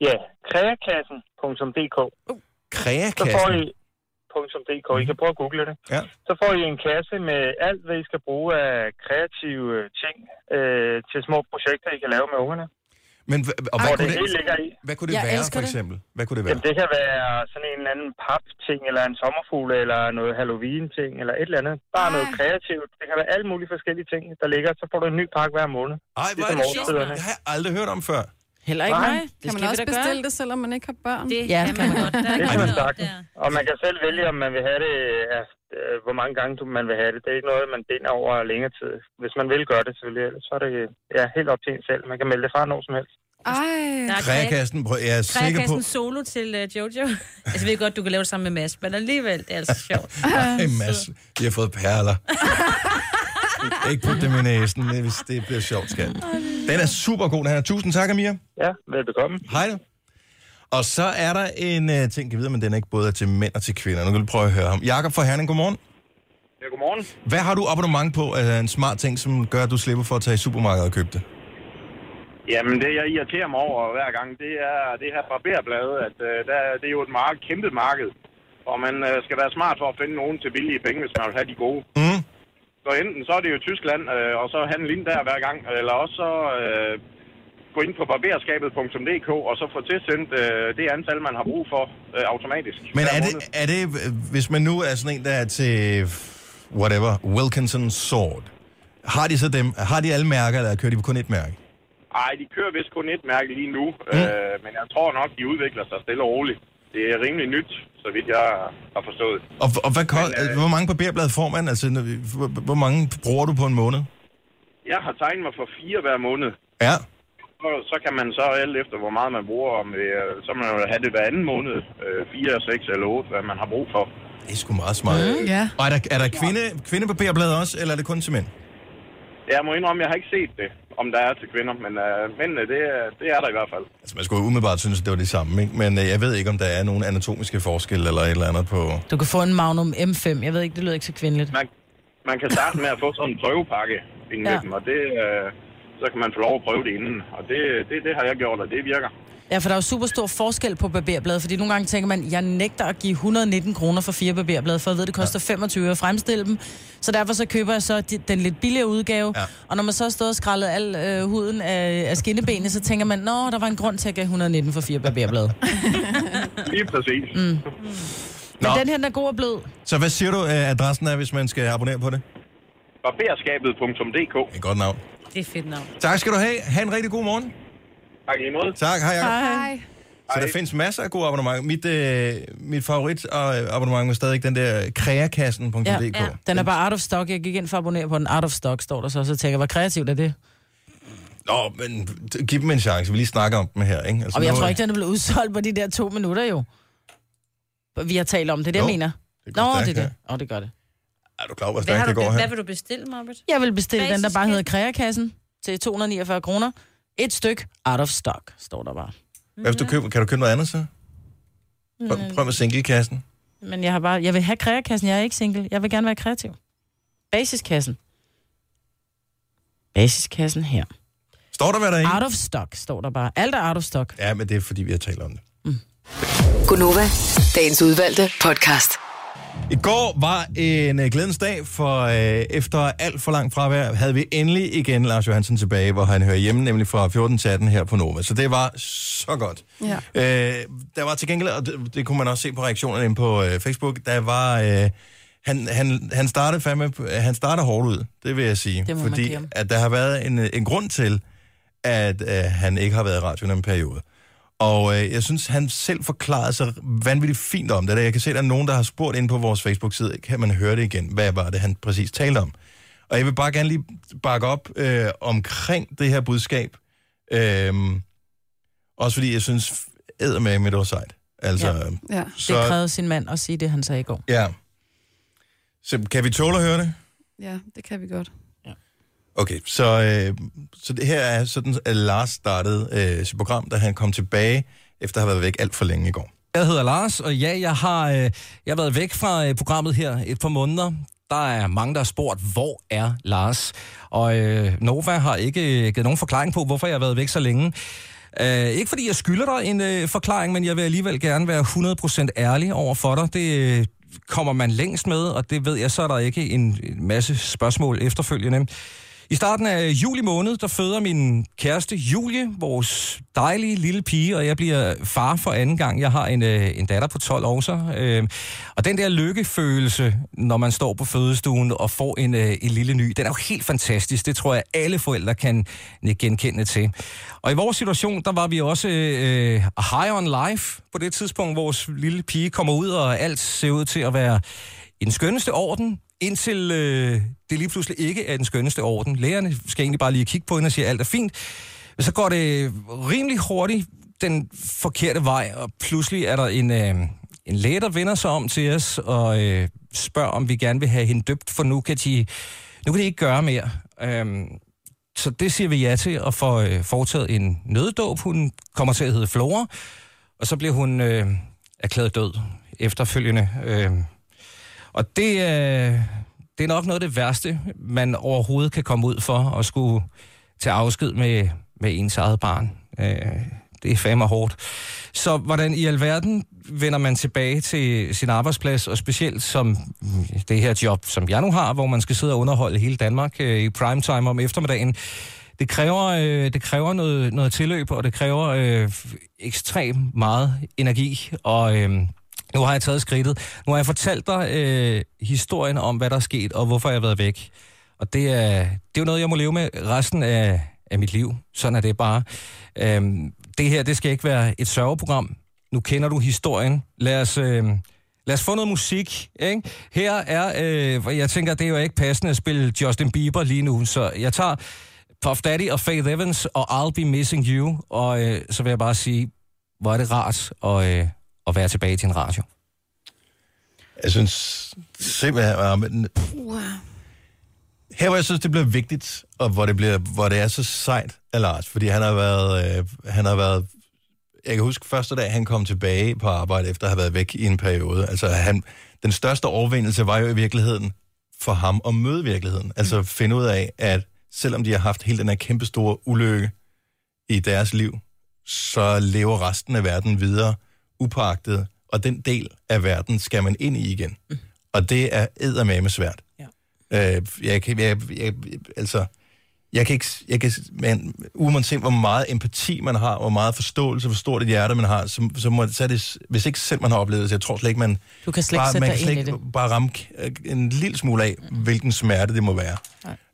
Speaker 10: Ja, kreakassen.dk. Så får
Speaker 1: Kreakassen.
Speaker 10: I... .dk. I kan prøve at google det.
Speaker 1: Ja.
Speaker 10: Så får I en kasse med alt, hvad I skal bruge af kreative ting øh, til små projekter, I kan lave med ungerne.
Speaker 1: Men hva- og hvad,
Speaker 10: Hvor det
Speaker 1: kunne
Speaker 10: hele
Speaker 1: det,
Speaker 10: ligger i.
Speaker 1: hvad kunne det
Speaker 4: Jeg
Speaker 1: være,
Speaker 4: elsker
Speaker 1: for
Speaker 4: det.
Speaker 1: eksempel? Hvad kunne det være?
Speaker 10: Jamen, det kan være sådan en eller anden papting, eller en sommerfugl, eller noget Halloween-ting, eller et eller andet. Bare noget kreativt. Det kan være alle mulige forskellige ting, der ligger. Så får du en ny pakke hver måned.
Speaker 1: Ej, hvor er
Speaker 10: Ligesom
Speaker 1: det sjovt.
Speaker 10: årstiderne.
Speaker 1: Det har jeg aldrig hørt om før.
Speaker 4: Heller ikke
Speaker 10: Nej.
Speaker 4: mig. Det
Speaker 9: Kan
Speaker 4: skal
Speaker 9: man
Speaker 4: vi
Speaker 9: også
Speaker 4: da gøre.
Speaker 9: bestille det, selvom man ikke har børn?
Speaker 3: Det
Speaker 4: Ja,
Speaker 3: ja,
Speaker 4: det
Speaker 3: kan man godt. Der
Speaker 10: Det
Speaker 3: er ikke
Speaker 10: kan man
Speaker 3: noget
Speaker 10: sagtens.
Speaker 3: der.
Speaker 10: Og man kan selv vælge, om man vil have det, øh, øh, hvor mange gange du- man vil have det. Det er ikke noget, man binder over længere tid. Hvis man vil gøre det selvfølgelig, ellers så er det øh, ja, helt op til en selv. Man kan melde det fra når som helst.
Speaker 3: Der
Speaker 9: Ej.
Speaker 3: er kræ-
Speaker 1: Kreakassen, prøv- jeg er sikker på...
Speaker 3: Krækassen solo til øh, Jojo. altså, jeg ved godt, du kan lave det sammen med Mads, men alligevel, det er altså sjovt.
Speaker 1: Ej, Mads, de har fået perler. Ikke på dem i næsen, men hvis det bliver sjovt, skat. Den er super god, den her. Tusind tak, Amir.
Speaker 10: Ja, velbekomme.
Speaker 1: Hej da. Og så er der en uh, ting, jeg ved, men den er ikke både til mænd og til kvinder. Nu kan du prøve at høre ham. Jakob fra Herning, godmorgen.
Speaker 10: Ja, godmorgen.
Speaker 1: øh, Hvad har du abonnement på af en smart ting, som gør, at du slipper for at tage i supermarkedet og købe det?
Speaker 10: Jamen, det jeg irriterer mig over hver gang, det er det her barberblade, at øh, der, det er jo et marked, kæmpe marked. Og man øh, skal være smart for at finde nogen til billige penge, hvis man vil have de gode.
Speaker 1: Mm.
Speaker 10: Så enten så er det jo Tyskland, øh, og så handle ind der hver gang, eller også så øh, gå ind på barberskabet.dk og så få tilsendt øh, det antal, man har brug for øh, automatisk.
Speaker 1: Men
Speaker 10: hver
Speaker 1: er
Speaker 10: måned.
Speaker 1: det, er det, hvis man nu er sådan en, der er til, whatever, Wilkinson Sword, har de så dem, har de alle mærker, eller kører de på kun et mærke?
Speaker 10: Ej, de kører vist kun et mærke lige nu, mm. øh, men jeg tror nok, de udvikler sig stille og roligt. Det er rimelig nyt, så vidt jeg har forstået.
Speaker 1: Og, og hvad, kost, Men, øh, hvor mange papirblad får man? Altså, når vi- hvor, hvor mange bruger du på en måned?
Speaker 10: Jeg har tegnet mig for fire hver måned.
Speaker 1: Ja.
Speaker 10: Så, så kan man så alt efter, hvor meget man bruger, om, øh, så må man jo have det hver anden måned. Øh, fire, seks eller otte, hvad man har brug for.
Speaker 1: Det er sgu meget smart. Mm,
Speaker 9: ja.
Speaker 1: Og er der, er der kvinde, kvindepapirblad også, eller er det kun til mænd?
Speaker 10: Jeg må indrømme, jeg har ikke set det, om der er til kvinder, men øh, mændene, det, er- det er der i hvert fald.
Speaker 1: Altså, man skulle jo umiddelbart synes, at det var det samme, ikke? Men øh, jeg ved ikke, om der er nogen anatomiske forskelle eller et eller andet på...
Speaker 4: Du kan få en Magnum M5. Jeg ved ikke, det lyder ikke så kvindeligt.
Speaker 10: Man, man kan starte med at få sådan en prøvepakke inden ja.
Speaker 4: Ja.
Speaker 10: dem, og det, øh, så kan man få lov at prøve det inden. Og det, det, det har jeg gjort, og det virker.
Speaker 4: Ja, for der er jo super stor forskel på barberblade, fordi nogle gange tænker man, jeg nægter at give 119 kroner for fire barberblade, for jeg ved, det koster 25 at fremstille dem. Så derfor så køber jeg så de- den lidt billigere udgave. Ja. Og når man så har stået og skrællet al øh, huden af, af skinnebenet, så tænker man, nå, der var en grund til, at jeg gav 119 for fire barberblade.
Speaker 10: Lige præcis.
Speaker 4: Mm.
Speaker 1: Nå,
Speaker 4: Men den her, den er god og blød.
Speaker 1: så hvad siger du, øh, adressen er, hvis man skal abonnere på det?
Speaker 10: Barberskabet.dk
Speaker 1: Et godt navn.
Speaker 3: Det er fedt navn.
Speaker 1: Tak skal du have. Ha' en rigtig god morgen.
Speaker 10: Tak lige måde.
Speaker 1: Tak, hej Jacob.
Speaker 2: Hej.
Speaker 1: Så der findes masser af gode abonnementer. Mit, øh, mit favorit øh, abonnement var stadig den der kreakassen.dk.
Speaker 4: Ja, ja. Den er bare out of stock. Jeg gik ind for at abonnere på den. Out of stock står der så, så tænker jeg, hvor kreativt er det?
Speaker 1: Nå, men t- giv dem en chance. Vi lige snakker om dem her, ikke? Altså,
Speaker 4: Og jeg
Speaker 1: nu-
Speaker 4: tror ikke, den er blevet udsolgt på de der to minutter jo. Vi har talt om det, det er det, jeg
Speaker 1: Jo,
Speaker 4: mener.
Speaker 1: det går
Speaker 4: Nå,
Speaker 1: stærkt
Speaker 4: det er
Speaker 1: her.
Speaker 4: det. Åh, det gør det.
Speaker 1: Er du klar over, hvor
Speaker 3: Hvad, har
Speaker 1: stærkt
Speaker 3: du,
Speaker 1: det går
Speaker 3: be-
Speaker 1: her?
Speaker 3: hvad vil du bestille, Marbet?
Speaker 4: Jeg vil bestille den, der
Speaker 3: Basiskat.
Speaker 4: bare hedder Kreakassen til 249 kroner. Et styk out of stock, står der bare.
Speaker 1: Hvad hvis du køber, kan du købe noget andet så?
Speaker 4: Mm.
Speaker 1: Prøv, prøv med singlekassen.
Speaker 4: Men jeg, har bare, jeg vil have Kreakassen, jeg er ikke single. Jeg vil gerne være kreativ. Basiskassen. Basiskassen her.
Speaker 1: Står der, hvad der er i?
Speaker 4: Out of stock, står der bare. Alt er out of stock.
Speaker 1: Ja, men det er, fordi vi har talt om det.
Speaker 5: Gunova, dagens udvalgte podcast.
Speaker 1: I går var en øh, glædens dag, for øh, efter alt for langt fravær havde vi endelig igen Lars Johansen tilbage, hvor han hører hjemme, nemlig fra 14 til 18 her på Nova. Så det var så godt.
Speaker 2: Ja.
Speaker 1: Øh, der var til gengæld, og det, det kunne man også se på reaktionerne inde på øh, Facebook, der var... Øh, han, han, han, startede fandme, han starter hårdt ud, det vil jeg sige.
Speaker 4: Det må man
Speaker 1: fordi
Speaker 4: give ham.
Speaker 1: at der har været en, øh, en grund til, at øh, han ikke har været i radioen i en periode. Og øh, jeg synes, han selv forklarede sig vanvittigt fint om det. Jeg kan se, at der er nogen, der har spurgt ind på vores Facebook-side, kan man høre det igen? Hvad var det, han præcis talte om? Og jeg vil bare gerne lige bakke op øh, omkring det her budskab. Øh, også fordi jeg synes, med det var sejt. Altså, ja.
Speaker 2: Ja.
Speaker 1: Så,
Speaker 4: Det krævede sin mand at sige det, han sagde i går.
Speaker 1: ja. Så kan vi tåle at høre det?
Speaker 2: ja, det kan vi godt.
Speaker 1: Okay, så, øh, så det her er sådan, at Lars startede øh, sit program, da han kom tilbage, efter at have været væk alt for længe i går.
Speaker 11: Jeg hedder Lars, og ja, jeg har, øh, jeg har været væk fra øh, programmet her et par måneder. Der er mange, der har spurgt, hvor er Lars? Og øh, Nova har ikke øh, givet nogen forklaring på, hvorfor jeg har været væk så længe. Øh, ikke fordi jeg skylder dig en øh, forklaring, men jeg vil alligevel gerne være 100% ærlig over for dig. Det øh, kommer man længst med, og det ved jeg, så er der ikke en, en masse spørgsmål efterfølgende. I starten af juli måned, der føder min kæreste Julie, vores dejlige lille pige, og jeg bliver far for anden gang. Jeg har en, øh, en datter på 12 år så. Øh, og den der lykkefølelse, når man står på fødestuen og får en, øh, en lille ny, den er jo helt fantastisk. Det tror jeg, alle forældre kan øh, genkende til. Og i vores situation, der var vi også øh, high on life på det tidspunkt. Vores lille pige kommer ud, og alt ser ud til at være i den skønneste orden, indtil øh, det lige pludselig ikke er den skønneste orden. Lægerne skal egentlig bare lige kigge på hende og sige, at alt er fint. Men Så går det rimelig hurtigt den forkerte vej, og pludselig er der en, øh, en læge, der vender sig om til os og øh, spørger, om vi gerne vil have hende døbt, for nu kan de, nu kan de ikke gøre mere. Øhm, så det siger vi ja til, og får øh, foretaget en nøddåb. Hun kommer til at hedde Flora, og så bliver hun øh, erklæret død efterfølgende. Øh, og det, øh, det er nok noget af det værste, man overhovedet kan komme ud for at skulle tage afsked med, med ens eget barn. Øh, det er fandme hårdt. Så hvordan i alverden vender man tilbage til sin arbejdsplads, og specielt som mm, det her job, som jeg nu har, hvor man skal sidde og underholde hele Danmark øh, i primetime om eftermiddagen. Det kræver, øh, det kræver noget, noget tilløb, og det kræver øh, ekstremt meget energi, og øh, nu har jeg taget skridtet. Nu har jeg fortalt dig øh, historien om, hvad der er sket, og hvorfor jeg har været væk. Og det er, det er jo noget, jeg må leve med resten af, af mit liv. Sådan er det bare. Øhm, det her, det skal ikke være et sørgeprogram. Nu kender du historien. Lad os, øh, lad os få noget musik. Ikke? Her er, øh, hvor jeg tænker, det er jo ikke passende at spille Justin Bieber lige nu, så jeg tager Puff Daddy og Faith Evans og I'll Be Missing You, og øh, så vil jeg bare sige, hvor er det rart at, øh, at være tilbage til en radio.
Speaker 1: Jeg synes simpelthen... ah, men- Her hvor jeg synes, det bliver vigtigt, og hvor det, bliver, hvor det er så sejt af Lars, fordi han har været... Øh, han har været jeg kan huske første dag, han kom tilbage på arbejde, efter at have været væk i en periode. Altså, han, den største overvindelse var jo i virkeligheden for ham at møde virkeligheden. Altså, finde ud af, at selvom de har haft hele den her kæmpe store ulykke i deres liv, så lever resten af verden videre upagtet, og den del af verden skal man ind i igen. Og det er eddermame svært. Ja. Øh, jeg kan, jeg, jeg, altså, jeg kan ikke, jeg kan, man, uanset hvor meget empati man har, hvor meget forståelse, hvor stort et hjerte man har, så, så, må, så er det, s- hvis ikke selv man har oplevet det, så jeg tror slet ikke, man,
Speaker 4: Du kan slet ikke sætte
Speaker 1: man
Speaker 4: dig
Speaker 1: kan slet
Speaker 4: ind i
Speaker 1: ikke
Speaker 4: det.
Speaker 1: bare ramme k- en lille smule af, hvilken smerte det må være.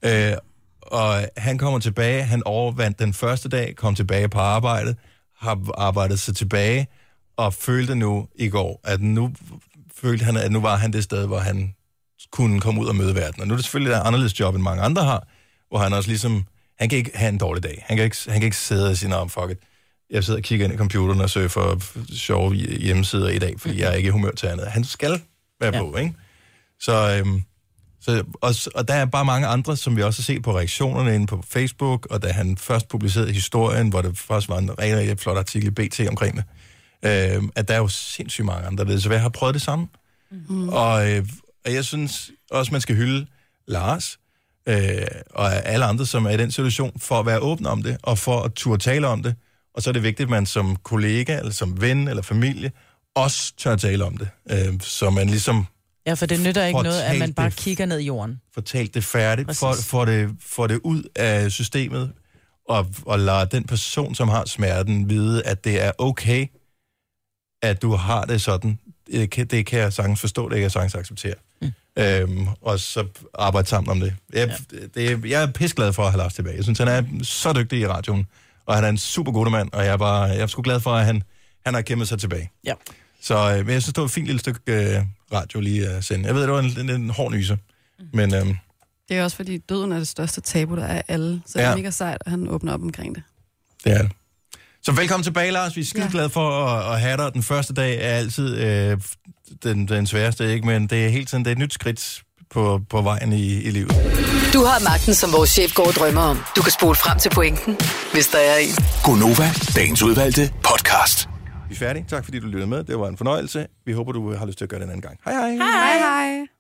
Speaker 1: Øh, og han kommer tilbage, han overvandt den første dag, kom tilbage på arbejdet, har arbejdet sig tilbage, og følte nu i går, at nu følte han, at nu var han det sted, hvor han kunne komme ud og møde verden. Og nu er det selvfølgelig et anderledes job, end mange andre har, hvor han også ligesom, han kan ikke have en dårlig dag. Han kan ikke, han kan ikke sidde og sige, nah, fuck it. Jeg sidder og kigger ind i computeren og søger for sjove hjemmesider i dag, fordi jeg er ikke i humør til andet. Han skal være på, ja. ikke? Så, øhm, så og, s- og der er bare mange andre, som vi også har set på reaktionerne inde på Facebook, og da han først publicerede historien, hvor der faktisk var en rigtig, rigtig flot artikel i BT omkring det, øhm, at der er jo sindssygt mange andre, der ved, så jeg har prøvet det samme. Mm. Og, øh, og jeg synes også, man skal hylde Lars øh, og alle andre, som er i den situation, for at være åben om det, og for at turde tale om det. Og så er det vigtigt, at man som kollega, eller som ven, eller familie, også tør tale om det. Øh, så man ligesom
Speaker 4: Ja, for det nytter ikke
Speaker 1: Får
Speaker 4: noget, at
Speaker 1: talt
Speaker 4: man bare
Speaker 1: det.
Speaker 4: kigger ned i jorden.
Speaker 1: får talt det færdigt,
Speaker 4: Præcis.
Speaker 1: får, får, det, får det ud af systemet, og, og lader den person, som har smerten, vide, at det er okay, at du har det sådan. Det kan, det kan jeg sagtens forstå, det kan jeg sagtens acceptere. Mm. Øhm, og så arbejde sammen om det. Jeg, ja. det, jeg er pisglad for at have Lars tilbage. Jeg synes, han er så dygtig i radioen, og han er en super god mand, og jeg er, bare, jeg er sgu glad for, at han, han har kæmpet sig tilbage.
Speaker 4: Ja.
Speaker 1: Så øh, men jeg synes, det var et fint lille stykke øh, radio lige at sende. Jeg ved, det var en, en, en hård nyser, men... Øh,
Speaker 2: Det er også fordi, døden er det største tabu, der er af alle. Så det
Speaker 1: Ja.
Speaker 2: er mega sejt, at han åbner op omkring det.
Speaker 1: Det er det. Så velkommen tilbage, Lars. Vi er skide glade for at, at have dig. Den første dag er altid øh, den, den sværeste, ikke? men det er hele tiden det er et nyt skridt på, på vejen i, i livet.
Speaker 5: Du har magten, som vores chef går og drømmer om. Du kan spole frem til pointen, hvis der er en.
Speaker 6: Gonova, dagens udvalgte podcast.
Speaker 1: Vi er færdige. Tak fordi du lyttede med. Det var en fornøjelse. Vi håber, du har lyst til at gøre det en anden gang. Hej hej.
Speaker 2: Hej hej.